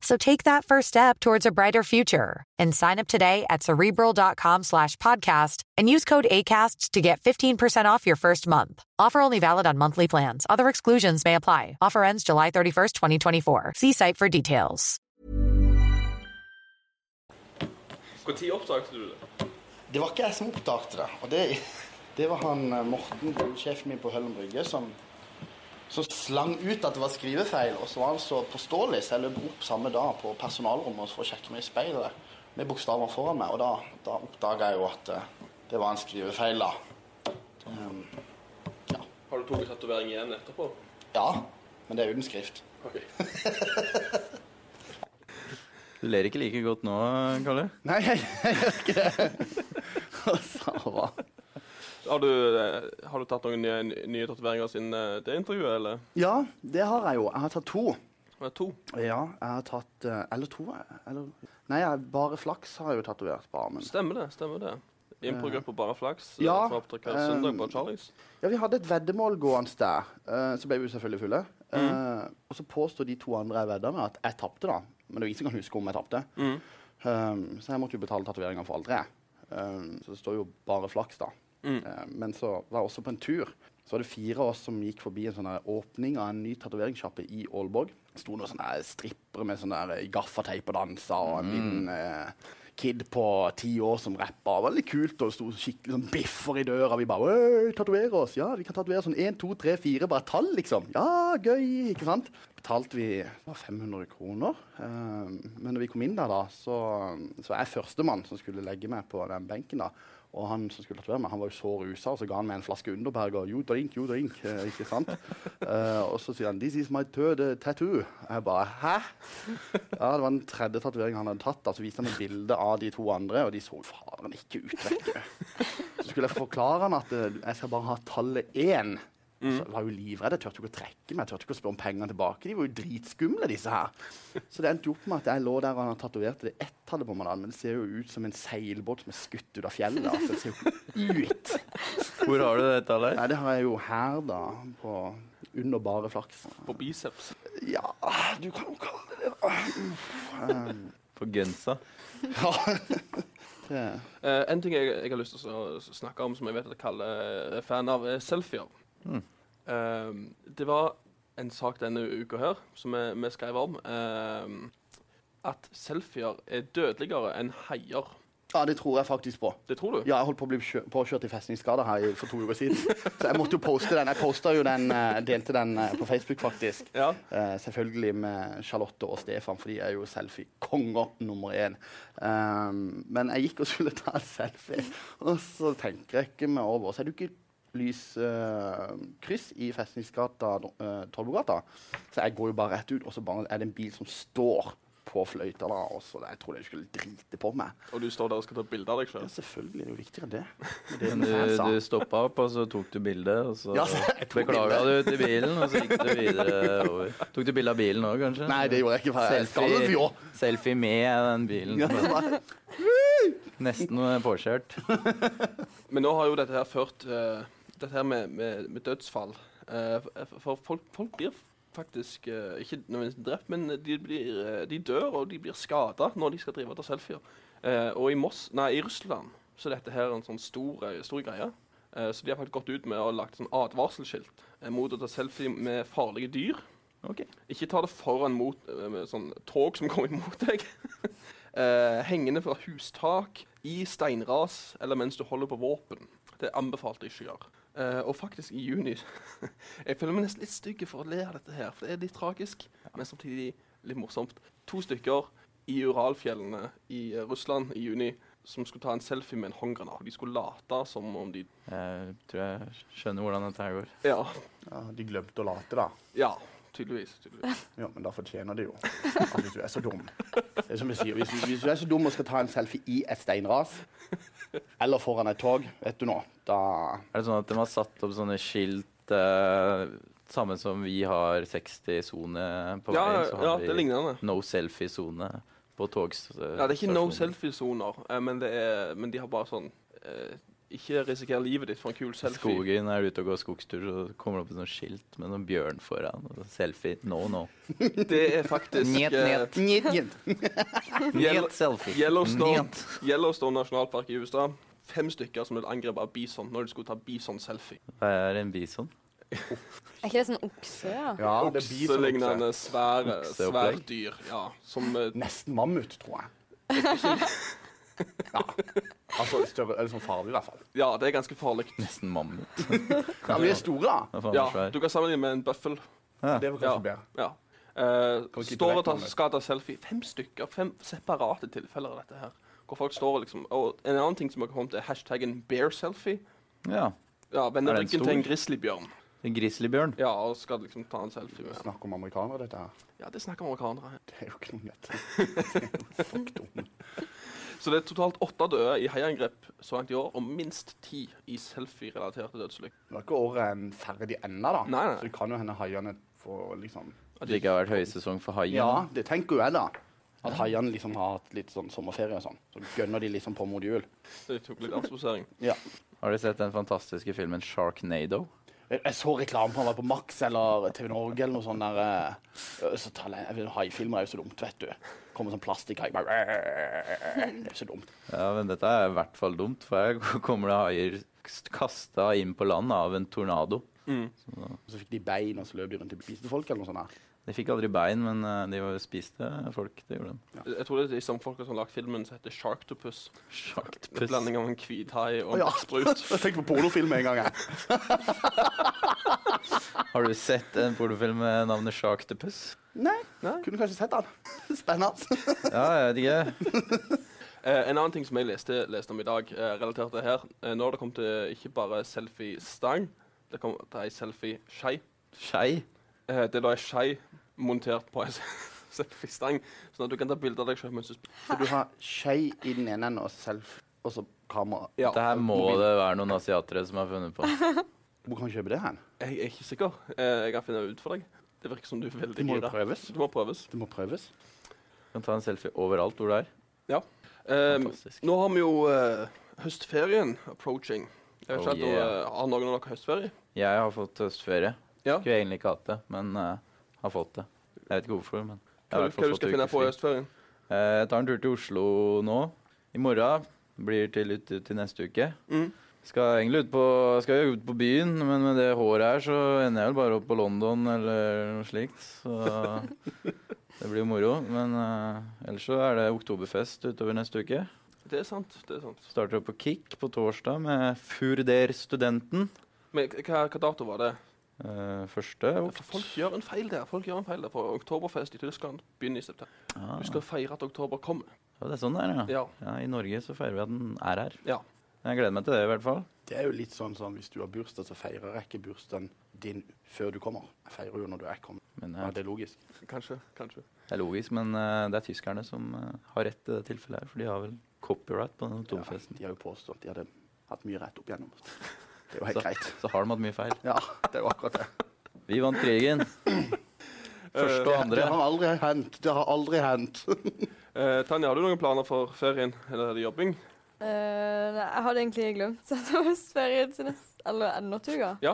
Speaker 9: So take that first step towards a brighter future and sign up today at cerebral.com slash podcast and use code ACAST to get 15% off your first month. Offer only valid on monthly plans. Other exclusions may apply. Offer ends July 31st, 2024. See site for details.
Speaker 1: Når oppdaget du det?
Speaker 3: Det var ikke jeg som oppdaget det. Og det, det var han eh, Morten, sjefen min på Høllum Brygge, som, som slang ut at det var skrivefeil. Og så var han så påståelig, så jeg løp opp samme dag på personalrommet for å sjekke meg i speilet med bokstavene foran meg. Og da, da oppdaga jeg jo at eh, det var en skrivefeil, da. Um, ja.
Speaker 1: Har du tatt tatovering igjen etterpå?
Speaker 3: ja. Men det er uten skrift.
Speaker 1: Ok.
Speaker 2: Du ler ikke like godt nå, Kalle.
Speaker 3: Nei, jeg gjør ikke det. Og så var
Speaker 1: Har du, eh, har du tatt noen nye, nye tatoveringer siden eh, det intervjuet, eller?
Speaker 3: Ja, det har jeg jo. Jeg har tatt to.
Speaker 1: Det er to.
Speaker 3: Ja, jeg har tatt eh, Eller to? eh, Eller, nei, jeg, bare flaks har jeg jo tatovert på armen.
Speaker 1: Stemmer det. stemmer det. Improgruppa Bare flaks. eh,
Speaker 3: Ja,
Speaker 1: Som opptrer hver søndag på
Speaker 3: ehm,
Speaker 1: Charlies.
Speaker 3: Ja, Vi hadde et veddemål gående der. eh, så ble vi jo selvfølgelig fulle. Eh, og så påstår de to andre jeg vedda med, at jeg tapte, da. Men det er jo ingen som kan huske om jeg tapte. Eh, så jeg måtte jo betale tatoveringa for alle tre. Eh, så det står jo bare flaks, da. Eh, men så var jeg også på en tur. Så var det fire av oss som gikk forbi en sånn her åpning av en ny tatoveringssjappe i Aalborg. Det sto noen sånne her strippere med sånn der gaffateip og dansa, og en liten eh, kid på ti år som rappa. Det var Veldig kult. Og det sto skikkelig sånn biffer i døra. Vi bare «Øy, tatoverer oss! Ja, vi kan tatovere sånn én, to, tre, fire, bare tall, liksom. Ja, gøy! Ikke sant? Betalte vi det var 500 kroner. Eh, men når vi kom inn der, da, så, så var jeg førstemann som skulle legge meg på den benken. da. Og han som skulle tatovere meg, han var jo så rusa, og så ga han meg en flaske Underberg og you drink, you drink. eh, ikke sant? Eh, og så sier han 'This is my third eh, tattoo'. Jeg bare 'hæ?! Ja, Det var den tredje tatoveringen han hadde tatt. da, Så viste han et bilde av de to andre, og de så jo faderen ikke ut. vet du. Så skulle jeg forklare han at eh, jeg skal bare ha tallet én. Så jeg var jo livredd. Jeg turte ikke å trekke meg, jeg turte ikke å spørre om pengene tilbake. De var jo dritskumle, disse her. Så det endte jo opp med at jeg lå der og han tatoverte det ett-tallet på meg, da, men det ser jo ut som en seilbåt som er skutt ut av fjellet. Altså, det ser jo ikke ut.
Speaker 2: Hvor har du dette, Leif?
Speaker 3: Nei, det har jeg jo her, da. På under bare flaks.
Speaker 1: På biceps.
Speaker 3: Ja, du kan jo kalle det det. da.
Speaker 2: På gensa.
Speaker 3: Ja. det.
Speaker 1: Eh, en ting jeg, jeg har lyst til å s- snakke om, som jeg vet at Kalle eh, er fan av, er selfier. Eh, det var en sak denne uka her som vi, vi skrev om, eh, at selfier er dødeligere enn haier.
Speaker 3: Ja, det tror jeg faktisk på.
Speaker 1: Det tror du?
Speaker 3: Ja, jeg holdt på å bli kjø påkjørt i festningsskader her i, for to uker siden. Så jeg måtte jo poste den. Jeg posta jo den, eh, delte den eh, på Facebook, faktisk.
Speaker 1: Ja.
Speaker 3: Eh, selvfølgelig med Charlotte og Stefan, for de er jo selfie-konger nummer Ehm, én. Um, men jeg gikk og skulle ta en selfie, og så tenker jeg ikke meg over. Så er det jo ikke lys eh, kryss i Festningsgata, eh, Tollbugata. Så jeg går jo bare rett ut, og så bare er det en bil som står på fløyta. da, og så Jeg trodde jeg skulle drite på meg.
Speaker 1: Og du står der og skal ta bilde av deg
Speaker 3: Ja,
Speaker 1: sjøl.
Speaker 3: selvfølgelig. Det er jo viktigere enn det. Men det er
Speaker 2: Men
Speaker 3: jo
Speaker 2: du,
Speaker 3: fans, da.
Speaker 2: du stoppa opp, og så tok du bilde, og så
Speaker 3: Ja, så jeg tok
Speaker 2: beklaga du
Speaker 3: bildet.
Speaker 2: til bilen, og så gikk du videre over. Tok du bilde av bilen òg, kanskje?
Speaker 3: Nei, det gjorde jeg ikke. for jeg skal jo
Speaker 2: selfie,
Speaker 3: fjå.
Speaker 2: selfie med den bilen.
Speaker 3: Ja, det var-
Speaker 2: Nesten påkjørt.
Speaker 1: Men nå har jo dette her ført eh, Dette her med, med, med dødsfall eh, for- For folk, folk blir faktisk eh, ikke nødvendigvis drept, men de, blir, eh, de dør og de blir skada når de skal drive og ta selfier. Eh, og i Moss, nei, i Russland så er dette her en sånn stor, eh, stor greie. Eh, så de har faktisk gått ut med og lagt sånn advarselsskilt eh, mot å ta selfie med farlige dyr.
Speaker 2: Ok.
Speaker 1: Ikke ta det foran mot eh, med sånn tog som kommer imot deg. Eh, hengende fra hustak, i steinras eller mens du holder på våpen. Det er anbefalt å ikke gjøre. Eh, og faktisk, i juni Jeg føler meg nesten litt stygg for å le av dette her, for det er litt tragisk, men samtidig litt morsomt. To stykker i Uralfjellene i eh, Russland i juni som skulle ta en selfie med en håndgranat. De skulle late som om de
Speaker 2: Jeg tror jeg skjønner hvordan dette her går.
Speaker 1: Ja.
Speaker 3: ja, de glemte å late, da.
Speaker 1: ja tydeligvis. tydeligvis.
Speaker 3: Ja, men da fortjener de jo. Altså, hvis du er så dum. Det er som jeg sier, hvis, hvis du er så dum og skal ta en selfie i et steinras, eller foran et tog, vet du nå, da
Speaker 2: Er det sånn at de har satt opp sånne skilt eh, Samme som vi har 60-sone på
Speaker 1: Ja,
Speaker 2: vei,
Speaker 1: ja, det er lignende.
Speaker 2: no selfie-sone på togs...
Speaker 1: Ja, det er ikke no selfie-soner, eh, men, det er- men de har bare sånn eh, Ikke risiker livet ditt for en kul selfie.
Speaker 2: Skogen er du ute og går skogstur, så kommer det opp et sånt skilt med noen bjørn foran. Og så selfie. No, no.
Speaker 1: Det er faktisk
Speaker 2: Njet,
Speaker 1: eh,
Speaker 2: njet.
Speaker 3: Njet, njet.
Speaker 2: Njet selfie.
Speaker 1: Yellowstone,
Speaker 2: Njet.
Speaker 1: Yellowstone nasjonalpark i USA. Fem stykker som ville angripe av bison når de skulle ta bison-selfie.
Speaker 2: Hva er en bison?
Speaker 4: Er ikke det sånn okse? Ja?
Speaker 3: Ja, det blir sånn
Speaker 1: Okselignende svære,
Speaker 2: Okseopplegg.
Speaker 1: svære dyr. Ja, som eh,
Speaker 3: Nesten mammut, tror jeg. Ja. Altså større, eller sånn farlig, i hvert fall.
Speaker 1: Ja, det er ganske farlig.
Speaker 2: Nesten mammut.
Speaker 3: Ja, men de er store, da.
Speaker 2: Hva faen er
Speaker 1: Ja,
Speaker 2: svær?
Speaker 1: du kan sammenligne med en bøffel.
Speaker 3: Det var
Speaker 1: Ja.
Speaker 3: kanskje bedre.
Speaker 1: ja. Eh,
Speaker 3: Kan ikke
Speaker 1: står og
Speaker 3: direkte
Speaker 1: tar,
Speaker 3: om det.
Speaker 1: skal ta selfie. Fem stykker. Fem separate tilfeller av dette her. Hvor folk står og liksom Og en annen ting som har kommet, er hashtaggen bearselfie.
Speaker 2: Ja.
Speaker 1: Ja,
Speaker 2: Er
Speaker 1: vender
Speaker 2: den
Speaker 1: ryggen
Speaker 2: stor?
Speaker 1: til en grizzlybjørn.
Speaker 2: En grizzlybjørn.
Speaker 1: Ja, og skal liksom ta en selfie med
Speaker 3: Snakk om amerikanere, dette her.
Speaker 1: Ja, det snakker amerikanere.
Speaker 3: Det er jo ikke noe nett. Fuck dumme.
Speaker 1: Så det er totalt åtte døde i heiangrep så langt i år, og minst ti i selfie-relaterte dødsulykker.
Speaker 3: Nå er ikke året en ferdig ennå, da.
Speaker 1: Nei, nei.
Speaker 3: Så det kan jo hende haiene får liksom
Speaker 2: At det ikke har vært høysesong for haien.
Speaker 3: Ja, det tenker jo jeg, da. At haiene liksom har hatt litt sånn sommerferie og sånn. Så gønner de liksom på mot jul.
Speaker 1: Det tok litt avsposering.
Speaker 3: Ja.
Speaker 2: Har du sett den fantastiske filmen Sharknado?
Speaker 3: Jeg, jeg så reklame på han var på Max eller TV Norge eller noe sånt der. eh, Så tar jeg- jeg vet, Haifilmer er jo så dumt, vet du. Kommer sånn plastikkhai bare Det er så dumt.
Speaker 2: Ja, men dette er i hvert fall dumt, for her kommer det haier kasta inn på land av en tornado.
Speaker 3: Og så fikk de bein, og så løp de rundt og spiste folk eller noe sånt. der.
Speaker 2: De fikk aldri bein, men eh, de var- spiste folk. Det gjorde de.
Speaker 1: Jeg tror det er de samme folka som har lagd filmen som heter Sharktopus. En
Speaker 2: Sjaktpuss.
Speaker 1: blanding av en hvithai og en
Speaker 3: Ja.
Speaker 1: dagsprut.
Speaker 3: Jeg tenkte på pornofilm en gang, jeg.
Speaker 2: Har du sett en pornofilm med navnet Sjaktpuss?
Speaker 3: Nei,
Speaker 1: Nei.
Speaker 3: kunne kanskje sett den. Spennende.
Speaker 2: Ja, jeg vet ikke.
Speaker 1: Eh, en annen ting som jeg leste, leste om i dag, eh, relatert til her eh, Nå har det kommet til ikke bare selfie-stang, det kom til ei selfie-skei.
Speaker 2: Skei.
Speaker 1: Eh, det er da ei skei montert på ei selfie-stang, sånn at du kan ta bilde av deg sjøl mens du spiser.
Speaker 3: Så du har skei i den ene enden og self, og så kamera.
Speaker 1: Ja,
Speaker 2: Dette her må
Speaker 3: mobil.
Speaker 2: det være noen asiatere som har funnet på.
Speaker 3: Hvor kan du kjøpe det hen?
Speaker 1: jeg, jeg er ikke sikker. Eh, jeg kan finne det ut for deg. Det virker som du er
Speaker 3: Det
Speaker 1: veldig
Speaker 3: må jo
Speaker 1: gira.
Speaker 3: prøves.
Speaker 1: Det må prøves.
Speaker 3: Det må prøves.
Speaker 2: Du kan ta en selfie overalt hvor du er.
Speaker 1: Eh,
Speaker 2: Fantastisk.
Speaker 1: nå har vi jo eh, høstferien approaching. Jeg vet
Speaker 2: Oh,
Speaker 1: ikke om
Speaker 2: yeah.
Speaker 1: eh, Har noen av dere høstferie?
Speaker 2: Jeg har fått høstferie.
Speaker 1: Ja.
Speaker 2: Skulle egentlig ikke hatt det, men eh, har fått det. Jeg vet ikke hvorfor, men jeg
Speaker 1: Hva,
Speaker 2: har i
Speaker 1: hva
Speaker 2: hvert fall
Speaker 1: du
Speaker 2: fått
Speaker 1: skal finne på i
Speaker 2: ukefri.
Speaker 1: høstferien?
Speaker 2: Eh, Jeg tar en tur til Oslo nå. I morgen blir til ut ut til neste uke.
Speaker 1: Mm.
Speaker 2: Skal egentlig ut på, skal jo ut på byen, men med det håret her så ender jeg vel bare opp på London eller noe slikt. Så det blir jo moro. Men eh, ellers så er det oktoberfest utover neste uke.
Speaker 1: Det er sant. det er sant.
Speaker 2: Starter opp på Kick på torsdag med Furder Studenten.
Speaker 1: Men k- hva, hva dato var det?
Speaker 2: Eh, første
Speaker 1: For folk gjør en feil der. Folk gjør en feil der. For oktoberfest i Tyskland begynner i september.
Speaker 2: Ah,
Speaker 1: Du skal feire at oktober kommer.
Speaker 2: ja, det er sånn det er, ja.
Speaker 1: Ja.
Speaker 2: ja. I Norge så feirer vi at den er her.
Speaker 1: ja.
Speaker 2: Jeg gleder meg til det, i hvert fall.
Speaker 3: Det er jo litt sånn sånn, hvis du har bursdag, så feirer jeg ikke bursdagen din før du kommer. Jeg feirer jo når du er kommet.
Speaker 2: Men,
Speaker 3: Ja,
Speaker 2: eh,
Speaker 3: det er logisk.
Speaker 1: Kanskje. kanskje.
Speaker 2: Det er logisk, men eh, det er tyskerne som eh, har rett i det tilfellet her. For de har vel copyright på den tomfesten.
Speaker 3: De har jo påstått de hadde hatt mye rett opp igjennom. Det er jo helt
Speaker 2: så,
Speaker 3: greit.
Speaker 2: så har de hatt mye feil.
Speaker 3: Ja, det er jo akkurat det.
Speaker 2: Vi vant krigen. Første og
Speaker 3: Det
Speaker 2: andre.
Speaker 3: har aldri hendt. Det har aldri hendt.
Speaker 1: Eh, Tanja, har du noen planer for ferien? Eller er det jobbing?
Speaker 4: Eh, nei, jeg hadde egentlig glemt at det var ferie til neste Eller eh, er det nå til uka?
Speaker 1: Ja?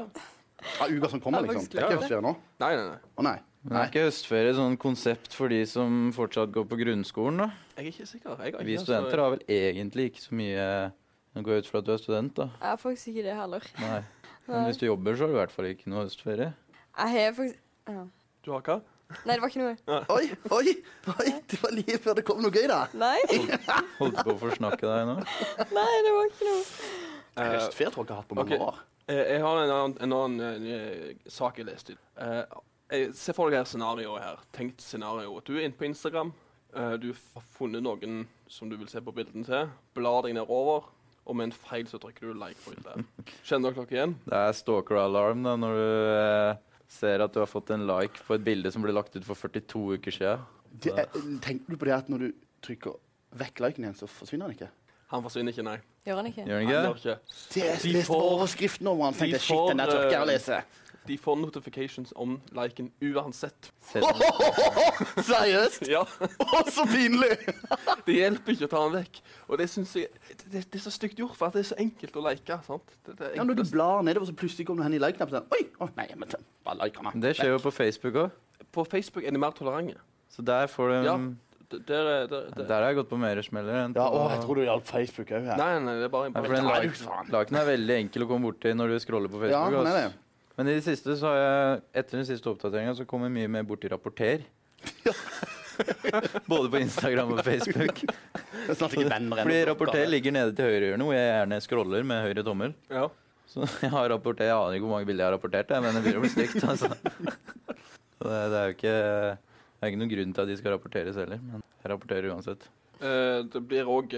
Speaker 3: Ja, uka som kommer,
Speaker 4: Jeg har
Speaker 3: liksom.
Speaker 4: faktisk
Speaker 3: Det er
Speaker 1: glemt
Speaker 3: ikke høstferie nå.
Speaker 1: Nei, nei, nei.
Speaker 3: Å nei.
Speaker 2: Men er ikke høstferie et sånn konsept for de som fortsatt går på grunnskolen, da?
Speaker 1: Jeg er ikke sikker. Jeg har ikke
Speaker 2: Vi studenter har vel egentlig ikke så mye Nå går jeg ut fra at du er student, da.
Speaker 4: Jeg har faktisk ikke det heller.
Speaker 2: Nei. Men
Speaker 4: Nei.
Speaker 2: hvis du jobber, så har du i hvert fall ikke noe høstferie.
Speaker 4: Jeg har faktisk ja.
Speaker 1: eh, Du har hva?
Speaker 4: Nei, det var ikke noe.
Speaker 3: Oi, oi, oi! Det var like før det kom noe gøy, da.
Speaker 4: Nei,
Speaker 2: Holdt på å forsnakke deg nå.
Speaker 4: nei, det var ikke noe.
Speaker 1: Eh,
Speaker 3: Høstferie tror jeg ikke jeg har hatt på mange
Speaker 1: ok.
Speaker 3: år.
Speaker 1: Eh, Jeg har en annen, en annen eh, sak jeg leste. Eh, jeg- Se for deg her scenarioet her. Tenkt scenario. Du er inne på Instagram. Eh, Du har funnet noen som du vil se på bildene til. Blar deg nedover, og med en feil så trykker du like på bildet. Kjenner dere dere igjen?
Speaker 2: Det er stalker-alarm da, når du eh, ser at du har fått en like på et bilde som ble lagt ut for 42 uker siden.
Speaker 3: Det er, eh, tenker du på det at når du trykker vekk liken igjen, så forsvinner den ikke?
Speaker 1: Han forsvinner ikke, nei.
Speaker 4: Gjør han ikke?
Speaker 2: Gjør den
Speaker 1: Han
Speaker 2: ikke
Speaker 1: gjør
Speaker 2: det?
Speaker 1: ikke.
Speaker 3: Det er
Speaker 1: De
Speaker 3: mest
Speaker 1: får-
Speaker 3: overskriftnummeret.
Speaker 1: de
Speaker 3: Tenkte jeg, shit, den der
Speaker 1: får,
Speaker 3: tørker jeg
Speaker 1: eh,
Speaker 3: å lese.
Speaker 1: De får notifications om liken uansett.
Speaker 2: Selv om-
Speaker 3: Seriøst?
Speaker 1: Ja,
Speaker 3: Å, så pinlig!
Speaker 1: Det hjelper ikke å ta den vekk. Og det synes jeg det, det, det er så stygt gjort, for at det er så enkelt å like. sant? Det, det er
Speaker 3: Ja, når du
Speaker 1: enklest.
Speaker 3: blar nedover, så plutselig kommer du hen i like-knappen. sånn, Oi! Å, nei, men den- bare like meg.
Speaker 2: Det skjer jo på Facebook òg.
Speaker 1: På Facebook er de mer tolerante.
Speaker 2: Så der får du
Speaker 1: Ja, D- Der er der, der.
Speaker 2: Der har jeg gått på mer smeller. enn
Speaker 3: Ja,
Speaker 2: på-
Speaker 3: å, jeg tror du hjalp Facebook òg her.
Speaker 1: Nei, nei, det er bare
Speaker 2: Nei, for
Speaker 1: bare-
Speaker 2: den
Speaker 3: Nei, du
Speaker 2: like,
Speaker 3: faen.
Speaker 2: liken er veldig enkel å komme bort til når du scroller på
Speaker 3: Ja,
Speaker 2: Facebook.
Speaker 3: han er
Speaker 2: ass.
Speaker 3: det.
Speaker 2: Men i det siste så har jeg, etter den siste oppdateringa så kommer jeg mye mer borti rapporter. Både på Instagram og Facebook.
Speaker 3: Det er snart ikke venner ennå.
Speaker 2: Fordi rapporter ligger nede til høyrehjørnet, hvor jeg gjerne scroller med høyre tommel.
Speaker 1: Ja.
Speaker 2: Så jeg har rapportert, jeg aner ikke hvor mange bilder jeg har rapportert, jeg, men det begynner å bli stygt. Altså. Og Det, det er jo ikke, det er ikke noen grunn til at de skal rapporteres heller, men jeg rapporterer uansett.
Speaker 1: Eh, det blir òg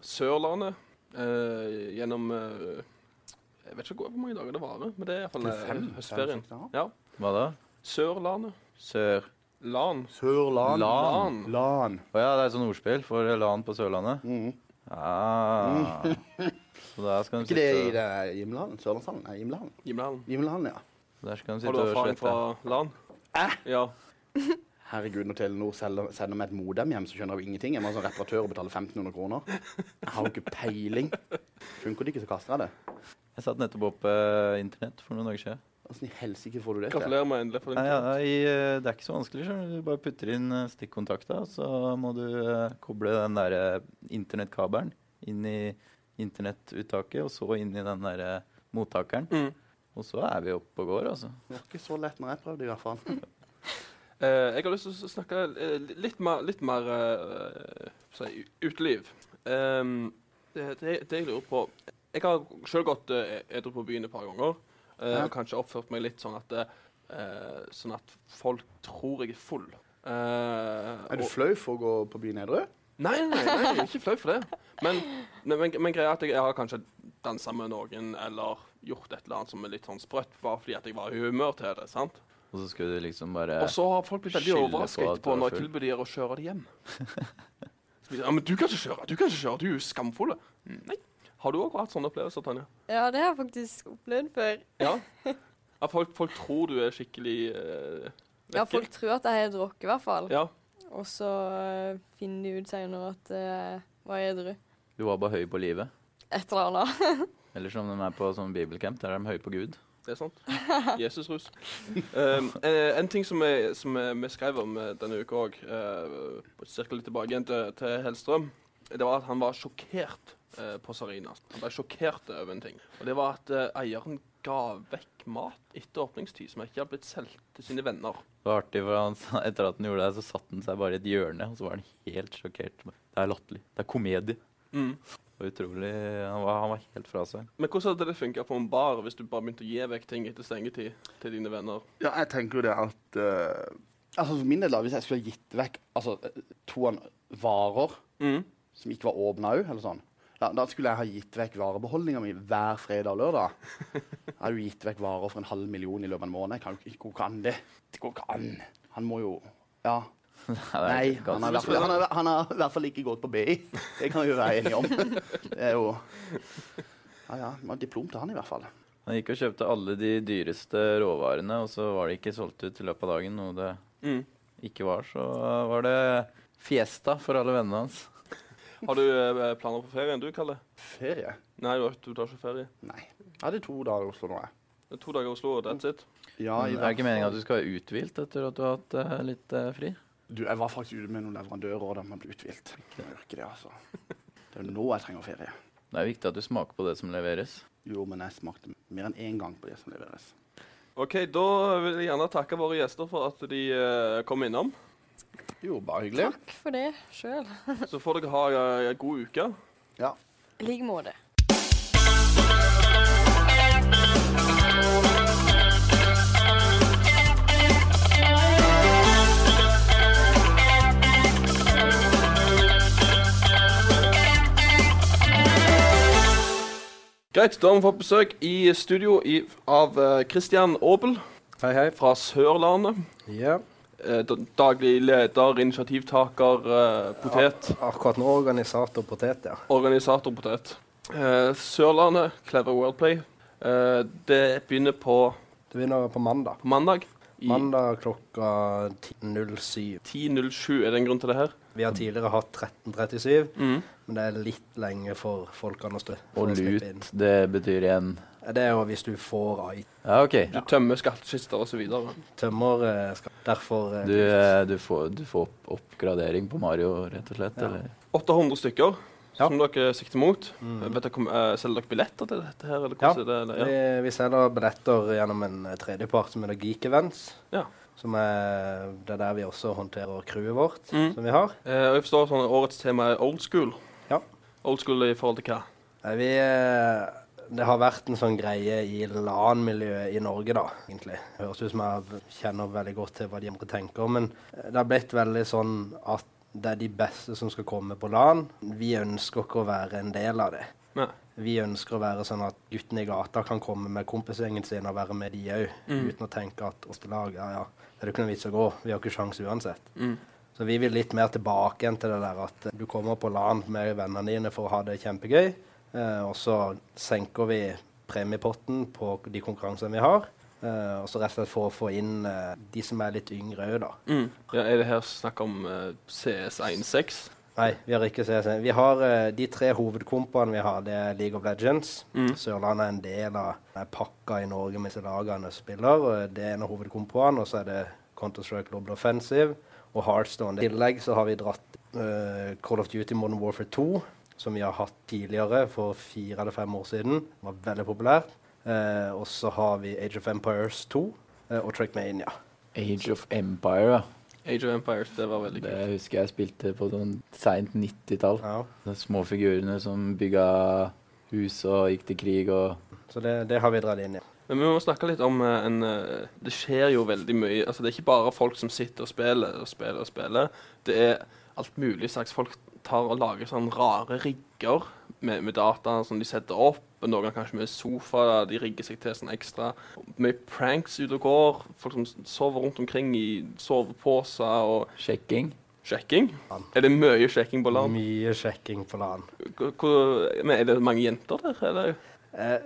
Speaker 1: Sørlandet eh, gjennom eh, Jeg vet ikke hvor mange dager det varer, men det er iallfall
Speaker 3: Fem,
Speaker 1: eh, høstferien.
Speaker 3: fem, seks, ja.
Speaker 1: Ja.
Speaker 2: Hva da?
Speaker 1: Sørlandet.
Speaker 2: Sør...
Speaker 1: Lan.
Speaker 3: Sørland.
Speaker 2: Lan.
Speaker 1: Lan.
Speaker 3: Lan.
Speaker 2: Å ja, det er sånn ordspill for LAN på Sørlandet?
Speaker 3: Mhm.
Speaker 2: Ah. Så der skal de
Speaker 3: Ikke det
Speaker 2: sitte
Speaker 3: i
Speaker 2: og,
Speaker 3: det Himmelhallen? Sørlandshallen? Nei, Himmelhallen.
Speaker 1: Gimlehallen.
Speaker 3: Himmelhallen, ja.
Speaker 2: der skal de
Speaker 1: Har du
Speaker 2: sitte og
Speaker 1: erfaring
Speaker 2: slette.
Speaker 1: fra Lan? Ja.
Speaker 3: Herregud, når Telenor selger, sender meg et modem hjem, så skjønner jeg jo ingenting. Jeg må ha sånn reparatør og betale 1500 kroner. Jeg har jo ikke peiling. Funker det ikke, så kaster jeg det.
Speaker 2: Jeg satt nettopp opp eh, internett for noen dager siden.
Speaker 3: Åssen i helsike får du det til?
Speaker 1: Gratulerer med endelig for
Speaker 2: Nei,
Speaker 1: din
Speaker 2: ja,
Speaker 1: tur.
Speaker 2: i, eh, det er ikke så vanskelig. skjønner Du Du bare putter inn eh, stikkontakta, og så må du eh, koble den der eh, internettkabelen inn i internettuttaket, og så inn i den der eh, mottakeren.
Speaker 1: Mm.
Speaker 2: Og så er vi oppe og går, altså.
Speaker 3: Det var ikke så lett når jeg prøvde, i hvert fall.
Speaker 1: Eh, jeg har lyst til å s- snakke eh, litt mer, litt mer eh, si, uteliv. Ehm, det, det, det jeg lurer på Jeg har sjøl gått eh, edru på byen et par ganger. eh,
Speaker 3: Ja.
Speaker 1: Og kanskje oppført meg litt sånn at, eh, sånn at folk tror jeg er full. Eh,
Speaker 3: Er du
Speaker 1: og-
Speaker 3: flau for å gå på byen edru?
Speaker 1: Nei, nei, nei, jeg er ikke flau for det. Men, men, men, men greia er at jeg, jeg har kanskje dansa med noen eller gjort et eller annet som er litt sånn sprøtt, bare fordi at jeg var i humør til det. sant?
Speaker 2: Og så skal du liksom bare
Speaker 1: Og så har folk blitt veldig
Speaker 2: skylder på
Speaker 1: overrasket
Speaker 2: at du
Speaker 1: etterpå
Speaker 2: er
Speaker 1: når jeg
Speaker 2: full.
Speaker 1: tilbyr dem å kjøre dem hjem. Så blir de, ja, men du kan ikke kjøre, du kan ikke kjøre, du er jo skamfull. Mm, Nei. Har du òg hatt sånne opplevelser, Tanja?
Speaker 4: Ja, det har jeg faktisk opplevd før.
Speaker 1: Ja. At folk, folk tror du er skikkelig eh,
Speaker 4: Ja,
Speaker 1: vekke.
Speaker 4: folk tror at jeg har drukket, i hvert fall.
Speaker 1: Ja.
Speaker 4: Og så eh, finner de ut senere at eh, jeg var edru.
Speaker 2: Du var bare høy på livet.
Speaker 4: Et eller annet.
Speaker 2: Eller som de er på sånn bibelcamp, der er de høye på Gud.
Speaker 1: Det er sant. Jesusrus. Um, eh, en ting som jeg- som jeg- vi skrev om eh, denne uka òg, uh, cirka litt tilbake igjen til, til Hellstrøm, det var at han var sjokkert eh, på Sarina. Han ble sjokkert over en ting. Og det var at eh, eieren ga vekk mat etter åpningstid som ikke hadde blitt solgt til sine venner.
Speaker 2: Det var artig, for han, sa- etter at han gjorde det, så satte han seg bare i et hjørne, og så var han helt sjokkert. Det er latterlig. Det er komedie.
Speaker 1: Mm.
Speaker 2: Det var utrolig. Han var, han var helt fra seg.
Speaker 1: Men hvordan hadde det funka på en bar hvis du bare begynte å gi vekk ting etter stengetid til dine venner?
Speaker 3: Ja, jeg tenker jo det at eh, Altså For min del, da, hvis jeg Mm. skulle ha gitt vekk altså, eh, to an- varer som ikke var åpna òg, eller sånn Da, da skulle jeg ha gitt vekk varebeholdninga mi hver fredag og lørdag. Jeg har jo gitt vekk varer for en halv million i løpet av en måned. Jeg kan jo ikke, hvor kan det? Det går ikke an. Han må jo Ja. Nei, han har i hvert fall- han har han har i hvert fall ikke gått på BI. Det kan vi jo være enige om. Det er jo Ja, ja. vi har Diplom til han, i hvert fall.
Speaker 2: Han gikk og kjøpte alle de dyreste råvarene, og så var de ikke solgt ut i løpet av dagen, noe det
Speaker 1: Mm.
Speaker 2: ikke var. Så var det fiesta for alle vennene hans.
Speaker 1: Har du eh, planer for ferien, du, Kalle?
Speaker 3: Ferie?
Speaker 1: Nei, du, har ikke- du tar ikke ferie.
Speaker 3: Nei. Jeg hadde to dager i Oslo nå, jeg.
Speaker 1: Det er to dager i Oslo, og that's it.
Speaker 3: Ja, i
Speaker 2: Men det er
Speaker 3: hvert
Speaker 2: ikke meningen
Speaker 3: fall.
Speaker 2: at du skal være uthvilt etter at du har hatt eh, litt eh, fri?
Speaker 3: Du, jeg var faktisk ute med noen leverandører, og da man ble uthvilt. Jeg gjør ikke Det altså. Det er jo nå jeg trenger ferie.
Speaker 2: Det er viktig at du smaker på det som leveres.
Speaker 3: Jo, men jeg smakte mer enn én gang på det som leveres.
Speaker 1: OK, da vil jeg gjerne takke våre gjester for at de eh, kom innom.
Speaker 3: Jo, bare hyggelig.
Speaker 4: Takk for det sjøl.
Speaker 1: Så får dere ha eh, en god uke.
Speaker 3: Ja.
Speaker 4: I like måte.
Speaker 1: Greit, da har vi fått besøk i studio i, av eh, Christian Aabel
Speaker 11: Hei, hei.
Speaker 1: fra Sørlandet.
Speaker 11: Ja.
Speaker 1: Eh, da- daglig leder, initiativtaker, eh, potet.
Speaker 11: Akkurat nå organisator potet, ja.
Speaker 1: Organisator potet. Eh, Sørlandet, Clever Worldplay. Eh, det begynner på
Speaker 11: Det begynner på mandag.
Speaker 1: På mandag? I
Speaker 11: Mandag klokka 10.07.
Speaker 1: 10.07, er det en grunn til det her?
Speaker 11: Vi har tidligere hatt 13.37,
Speaker 1: Mhm.
Speaker 11: men det er litt lenge for folkene å stø. for
Speaker 2: Og
Speaker 11: å slippe inn.
Speaker 2: lut, det betyr igjen
Speaker 11: Det er jo hvis du får ei
Speaker 2: Ja, OK.
Speaker 1: Du tømmer skattkister osv.
Speaker 11: tømmer. eh, skal- Derfor eh,
Speaker 2: Du, eh, du, får, du får opp- oppgradering på Mario, rett og slett?
Speaker 11: Ja.
Speaker 2: Eller?
Speaker 1: 800 stykker som dere sikter mot. Vet dere, om, eh, selger dere billetter til dette? her? Eller
Speaker 11: Mm. Ja,
Speaker 1: hvordan er det?
Speaker 11: vi, vi selger billetter gjennom en eh, tredjepart som heter Geek Events.
Speaker 1: Ja.
Speaker 11: Som er, det er der vi også håndterer crewet vårt,
Speaker 1: Mhm.
Speaker 11: som vi har.
Speaker 1: Eh, og jeg forstår at sånn, årets tema er old school.
Speaker 11: Ja.
Speaker 1: Old school i forhold til hva?
Speaker 11: Nei, vi, eh, det har vært en sånn greie i LAN-miljøet i Norge, da, egentlig. Høres ut som jeg kjenner veldig godt til hva de andre tenker, men det har blitt veldig sånn at det er de beste som skal komme på LAN. Vi ønsker ikke å være en del av det.
Speaker 1: Nei.
Speaker 11: Vi ønsker å være sånn at guttene i gata kan komme med kompisgjengen sin og være med de òg,
Speaker 1: Mm.
Speaker 11: uten å tenke at oss til lag, ja ja, det er jo ikke noe vits å gå, vi har ikke sjans uansett.
Speaker 1: Mm.
Speaker 11: Så vi vil litt mer tilbake igjen til det der at du kommer på LAN med vennene dine for å ha det kjempegøy, eh, og så senker vi premiepotten på de konkurransene vi har, eh, og så rett og slett for å få inn eh, de som er litt yngre òg, da.
Speaker 1: Mm. Ja, er det her snakk om eh, CS16?
Speaker 11: Nei, vi har ikke CS. Vi har eh, de tre hovedkompaene vi har, det er League of Legends.
Speaker 1: Mm.
Speaker 11: Sørlandet er en del av denne pakka i Norge med disse lagene som spiller. og Det er en av hovedkompaene, og så er det Counter-Strike Global Offensive og Heartstone. I tillegg så har vi dratt eh, Call of Duty Modern Warfare 2, som vi har hatt tidligere for fire eller fem år siden. Det var veldig populært. Eh, og så har vi Age of Empires 2 eh, og Trackmania.
Speaker 2: Age of Empire, ja.
Speaker 1: Age of Empires, det var veldig
Speaker 2: Det
Speaker 1: kult.
Speaker 2: husker jeg spilte på sånn seint 90-tall.
Speaker 11: Ja.
Speaker 2: De små figurene som bygga hus og gikk til krig og
Speaker 11: Så det, det har vi dratt inn i.
Speaker 1: Men vi må snakke litt om eh, en eh, Det skjer jo veldig mye. Altså, det er ikke bare folk som sitter og spiller og spiller og spiller. Det er alt mulig slags folk tar og lager sånn rare rigger med, med data som de setter opp. Noen har kanskje med sofa, de rigger seg til sånn ekstra. Mye pranks ute og går. Folk som sover rundt omkring i soveposer og
Speaker 2: sjekking.
Speaker 1: sjekking. Er det mye sjekking på land?
Speaker 11: Mye sjekking på LAN.
Speaker 1: Hvor- hvor- Men er det mange jenter der, eller?
Speaker 11: Eh,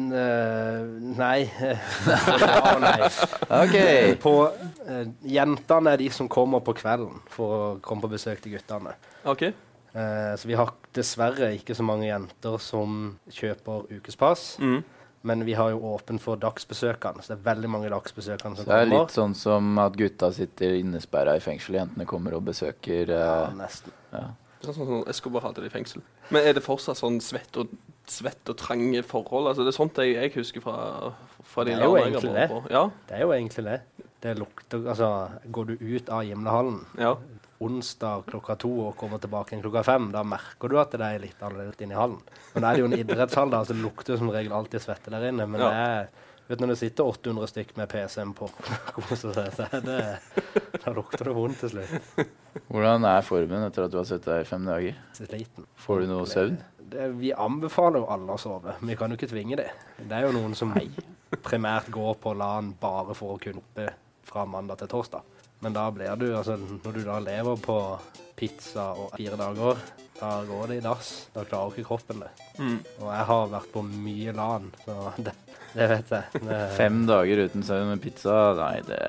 Speaker 11: n- eh, nei. ja og nei.
Speaker 2: OK!
Speaker 11: På, eh, jentene er de som kommer på kvelden for å komme på besøk til guttene.
Speaker 1: OK.
Speaker 11: Eh, så vi har dessverre ikke så mange jenter som kjøper ukespass.
Speaker 1: Mm.
Speaker 11: Men vi har jo åpen for dagsbesøkende, så det er veldig mange dagsbesøkende som
Speaker 2: Så det er
Speaker 11: kommer.
Speaker 2: litt sånn som at gutta sitter innesperra i fengsel, jentene kommer og besøker
Speaker 11: Ja,
Speaker 2: eh,
Speaker 11: nesten.
Speaker 1: Det er Sånn som Escobar hadde det i fengsel. Men er det fortsatt sånn svett og, svett og trange forhold? Altså, det er sånt jeg, jeg husker fra, fra de
Speaker 11: Det er jo
Speaker 1: landene jeg har
Speaker 11: egentlig
Speaker 1: vært
Speaker 11: det.
Speaker 1: på. Ja,
Speaker 11: Det er jo egentlig det. Det lukter Altså, går du ut av Gimlehallen
Speaker 1: ja.
Speaker 11: onsdag klokka to og kommer tilbake igjen klokka fem, da merker du at det er litt annerledes inni hallen. Men da er det jo en idrettshall, da, så det lukter som regel alltid svette der inne. Men
Speaker 1: Ja.
Speaker 11: det er, vet du, når det sitter 800 stykk med PC-en på koser seg, så er det, da lukter det vondt til slutt.
Speaker 2: Hvordan er formen etter at du har sittet der i fem dager?
Speaker 11: Sliten.
Speaker 2: Får du noe søvn?
Speaker 11: det, vi anbefaler jo alle å sove. men Vi kan jo ikke tvinge det. Det er jo noen som primært går på LAN bare for å kunne oppe fra mandag til torsdag. Men da blir du, altså, når du da lever på pizza og fire dager, da går det i dass. Da klarer ikke kroppen det.
Speaker 1: Mm.
Speaker 11: Og jeg har vært på mye LAN, så det, det vet jeg. Det-
Speaker 2: Fem dager uten søvn med pizza, nei, det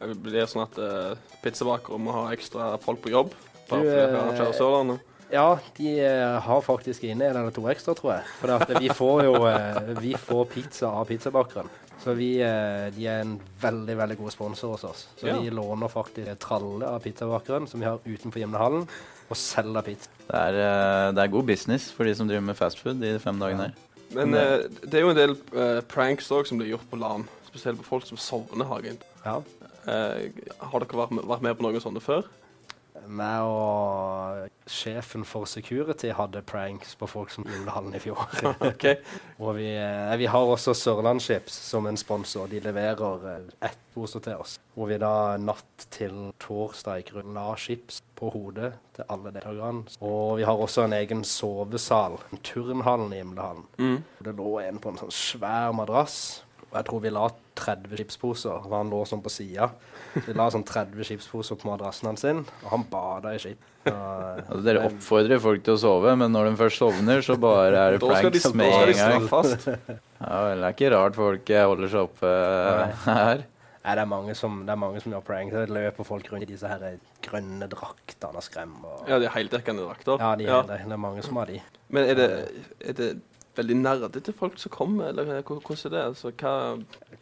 Speaker 1: Det blir sånn at uh, pizzabakere må ha ekstra folk på jobb. Bare
Speaker 11: Du,
Speaker 1: fordi de
Speaker 11: eh,
Speaker 1: arrangerer Sørlandet.
Speaker 11: Ja, de eh, har faktisk inne en eller to ekstra, tror jeg. For at vi får jo eh, vi får pizza av pizzabakeren. Så vi, eh, de er en veldig veldig god sponsor hos oss. Så
Speaker 2: Ja.
Speaker 11: vi låner faktisk en tralle av pizzabakeren som vi har utenfor Gimlehallen, og selger pizza.
Speaker 2: Det er, eh, det er god business for de som driver med fastfood de fem dagene her.
Speaker 1: Men eh, det er jo en del eh, pranks òg som blir gjort på LAN. Spesielt på folk som sovner, har jeg inntrykk
Speaker 11: Ja.
Speaker 1: Eh, Har dere vært med, vært med på noe sånt før?
Speaker 11: Meg og sjefen for security hadde pranks på folk som Gimlehallen i fjor.
Speaker 1: Ok.
Speaker 11: og vi, eh, vi har også Sørlandschips som en sponsor. De leverer eh, ett poser til oss. Hvor vi da natt til torsdag gikk rundt og la chips på hodet til alle deltakerne. Og vi har også en egen sovesal, turnhallen i Gimlehallen.
Speaker 1: Mm.
Speaker 11: Det lå en på en sånn svær madrass. Og jeg tror vi la 30 chipsposer. for Han lå sånn på sida. Så vi la sånn 30 chipsposer på madrassen hans, sin, og han bada i chip.
Speaker 2: Altså, dere oppfordrer folk til å sove, men når de først sovner, så bare er det
Speaker 11: Da skal de-
Speaker 2: pranks
Speaker 11: da
Speaker 2: med
Speaker 11: skal de
Speaker 2: en gang.
Speaker 11: straffes.
Speaker 2: Ja, vel, det er ikke rart folk eh, holder seg oppe eh, her.
Speaker 11: Nei, det er mange som, det er mange som gjør prank. Det løper folk rundt i disse her eh, grønne draktene og skremmer.
Speaker 1: Ja, de er heldekkende drakter.
Speaker 11: Ja, de er det. Det er mange som har de.
Speaker 1: Men er det, er det veldig nerdete folk som kommer, eller eh, hvor- hvordan er det? Altså, hva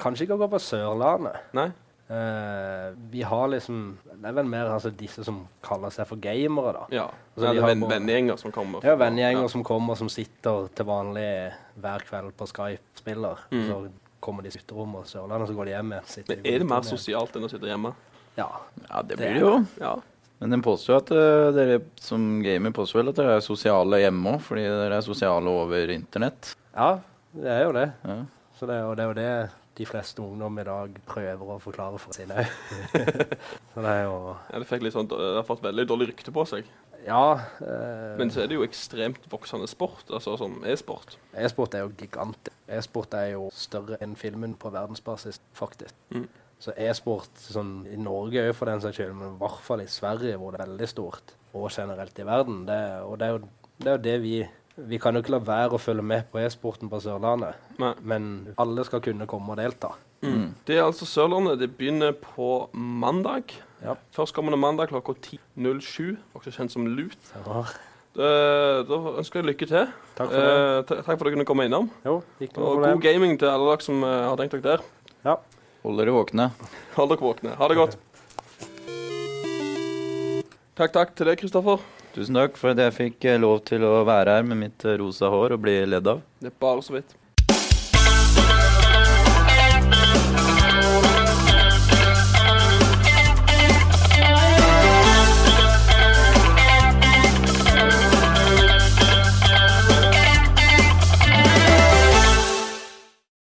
Speaker 11: Kanskje ikke å gå på Sørlandet.
Speaker 1: Nei?
Speaker 11: Eh, vi har liksom Det er vel mer altså, disse som kaller seg for gamere, da.
Speaker 1: Ja.
Speaker 11: Altså,
Speaker 1: ja
Speaker 11: de
Speaker 1: det er
Speaker 11: har
Speaker 1: ven-
Speaker 11: på-
Speaker 1: vennegjenger som kommer.
Speaker 11: Ja, vennegjenger
Speaker 1: Ja.
Speaker 11: som kommer, som sitter til vanlig hver kveld på Skype-spiller.
Speaker 1: Mm.
Speaker 11: Så kommer de til gutterommet og Sørlandet, så går de hjem igjen. sitter
Speaker 1: Men
Speaker 11: de på
Speaker 1: er det mer
Speaker 11: gutterommet.
Speaker 1: sosialt enn å sitte hjemme?
Speaker 11: Ja.
Speaker 2: Ja, det blir det jo.
Speaker 1: Ja.
Speaker 2: Men de påstår jo at eh, dere som gamer påstår vel at dere er sosiale hjemme òg, fordi dere er sosiale over internett.
Speaker 11: Ja, det er jo det.
Speaker 2: Ja.
Speaker 11: Så det er, jo, det er jo det de fleste ungdom i dag prøver å forklare for sine òg. så det er jo
Speaker 1: Ja, det, fikk litt sånn, det har fått veldig dårlig rykte på seg.
Speaker 11: Ja. eh,
Speaker 1: Men så er det jo ekstremt voksende sport, altså som e-sport.
Speaker 11: E-sport er jo gigantisk. E-sport er jo større enn filmen på verdensbasis, faktisk.
Speaker 1: Mm.
Speaker 11: Så e-sport sånn, i Norge òg, for den saks skyld, men i hvert fall i Sverige, hvor det er veldig stort, og generelt i verden. Det, og det er jo det, er jo det vi Vi kan jo ikke la være å følge med på e-sporten på Sørlandet,
Speaker 1: Nei.
Speaker 11: men alle skal kunne komme og delta.
Speaker 1: Mm. Det er altså Sørlandet. Det begynner på mandag.
Speaker 11: Ja.
Speaker 1: Førstkommende mandag klokka 10.07, også kjent som LUT.
Speaker 11: Stemmer.
Speaker 1: Eh, Da, da ønsker jeg lykke til.
Speaker 11: Takk for
Speaker 1: Eh, ta- takk for at dere kunne komme innom.
Speaker 11: Jo, ikke noe
Speaker 1: Og
Speaker 11: problem.
Speaker 1: god gaming til alle dere som eh, har tenkt dere der.
Speaker 11: Ja.
Speaker 2: Hold dere våkne.
Speaker 1: Hold dere våkne. Ha det godt. Takk, takk til deg, Kristoffer.
Speaker 2: Tusen takk for at jeg fikk eh, lov til å være her med mitt eh, rosa hår og bli ledd av.
Speaker 1: Det er bare så vidt.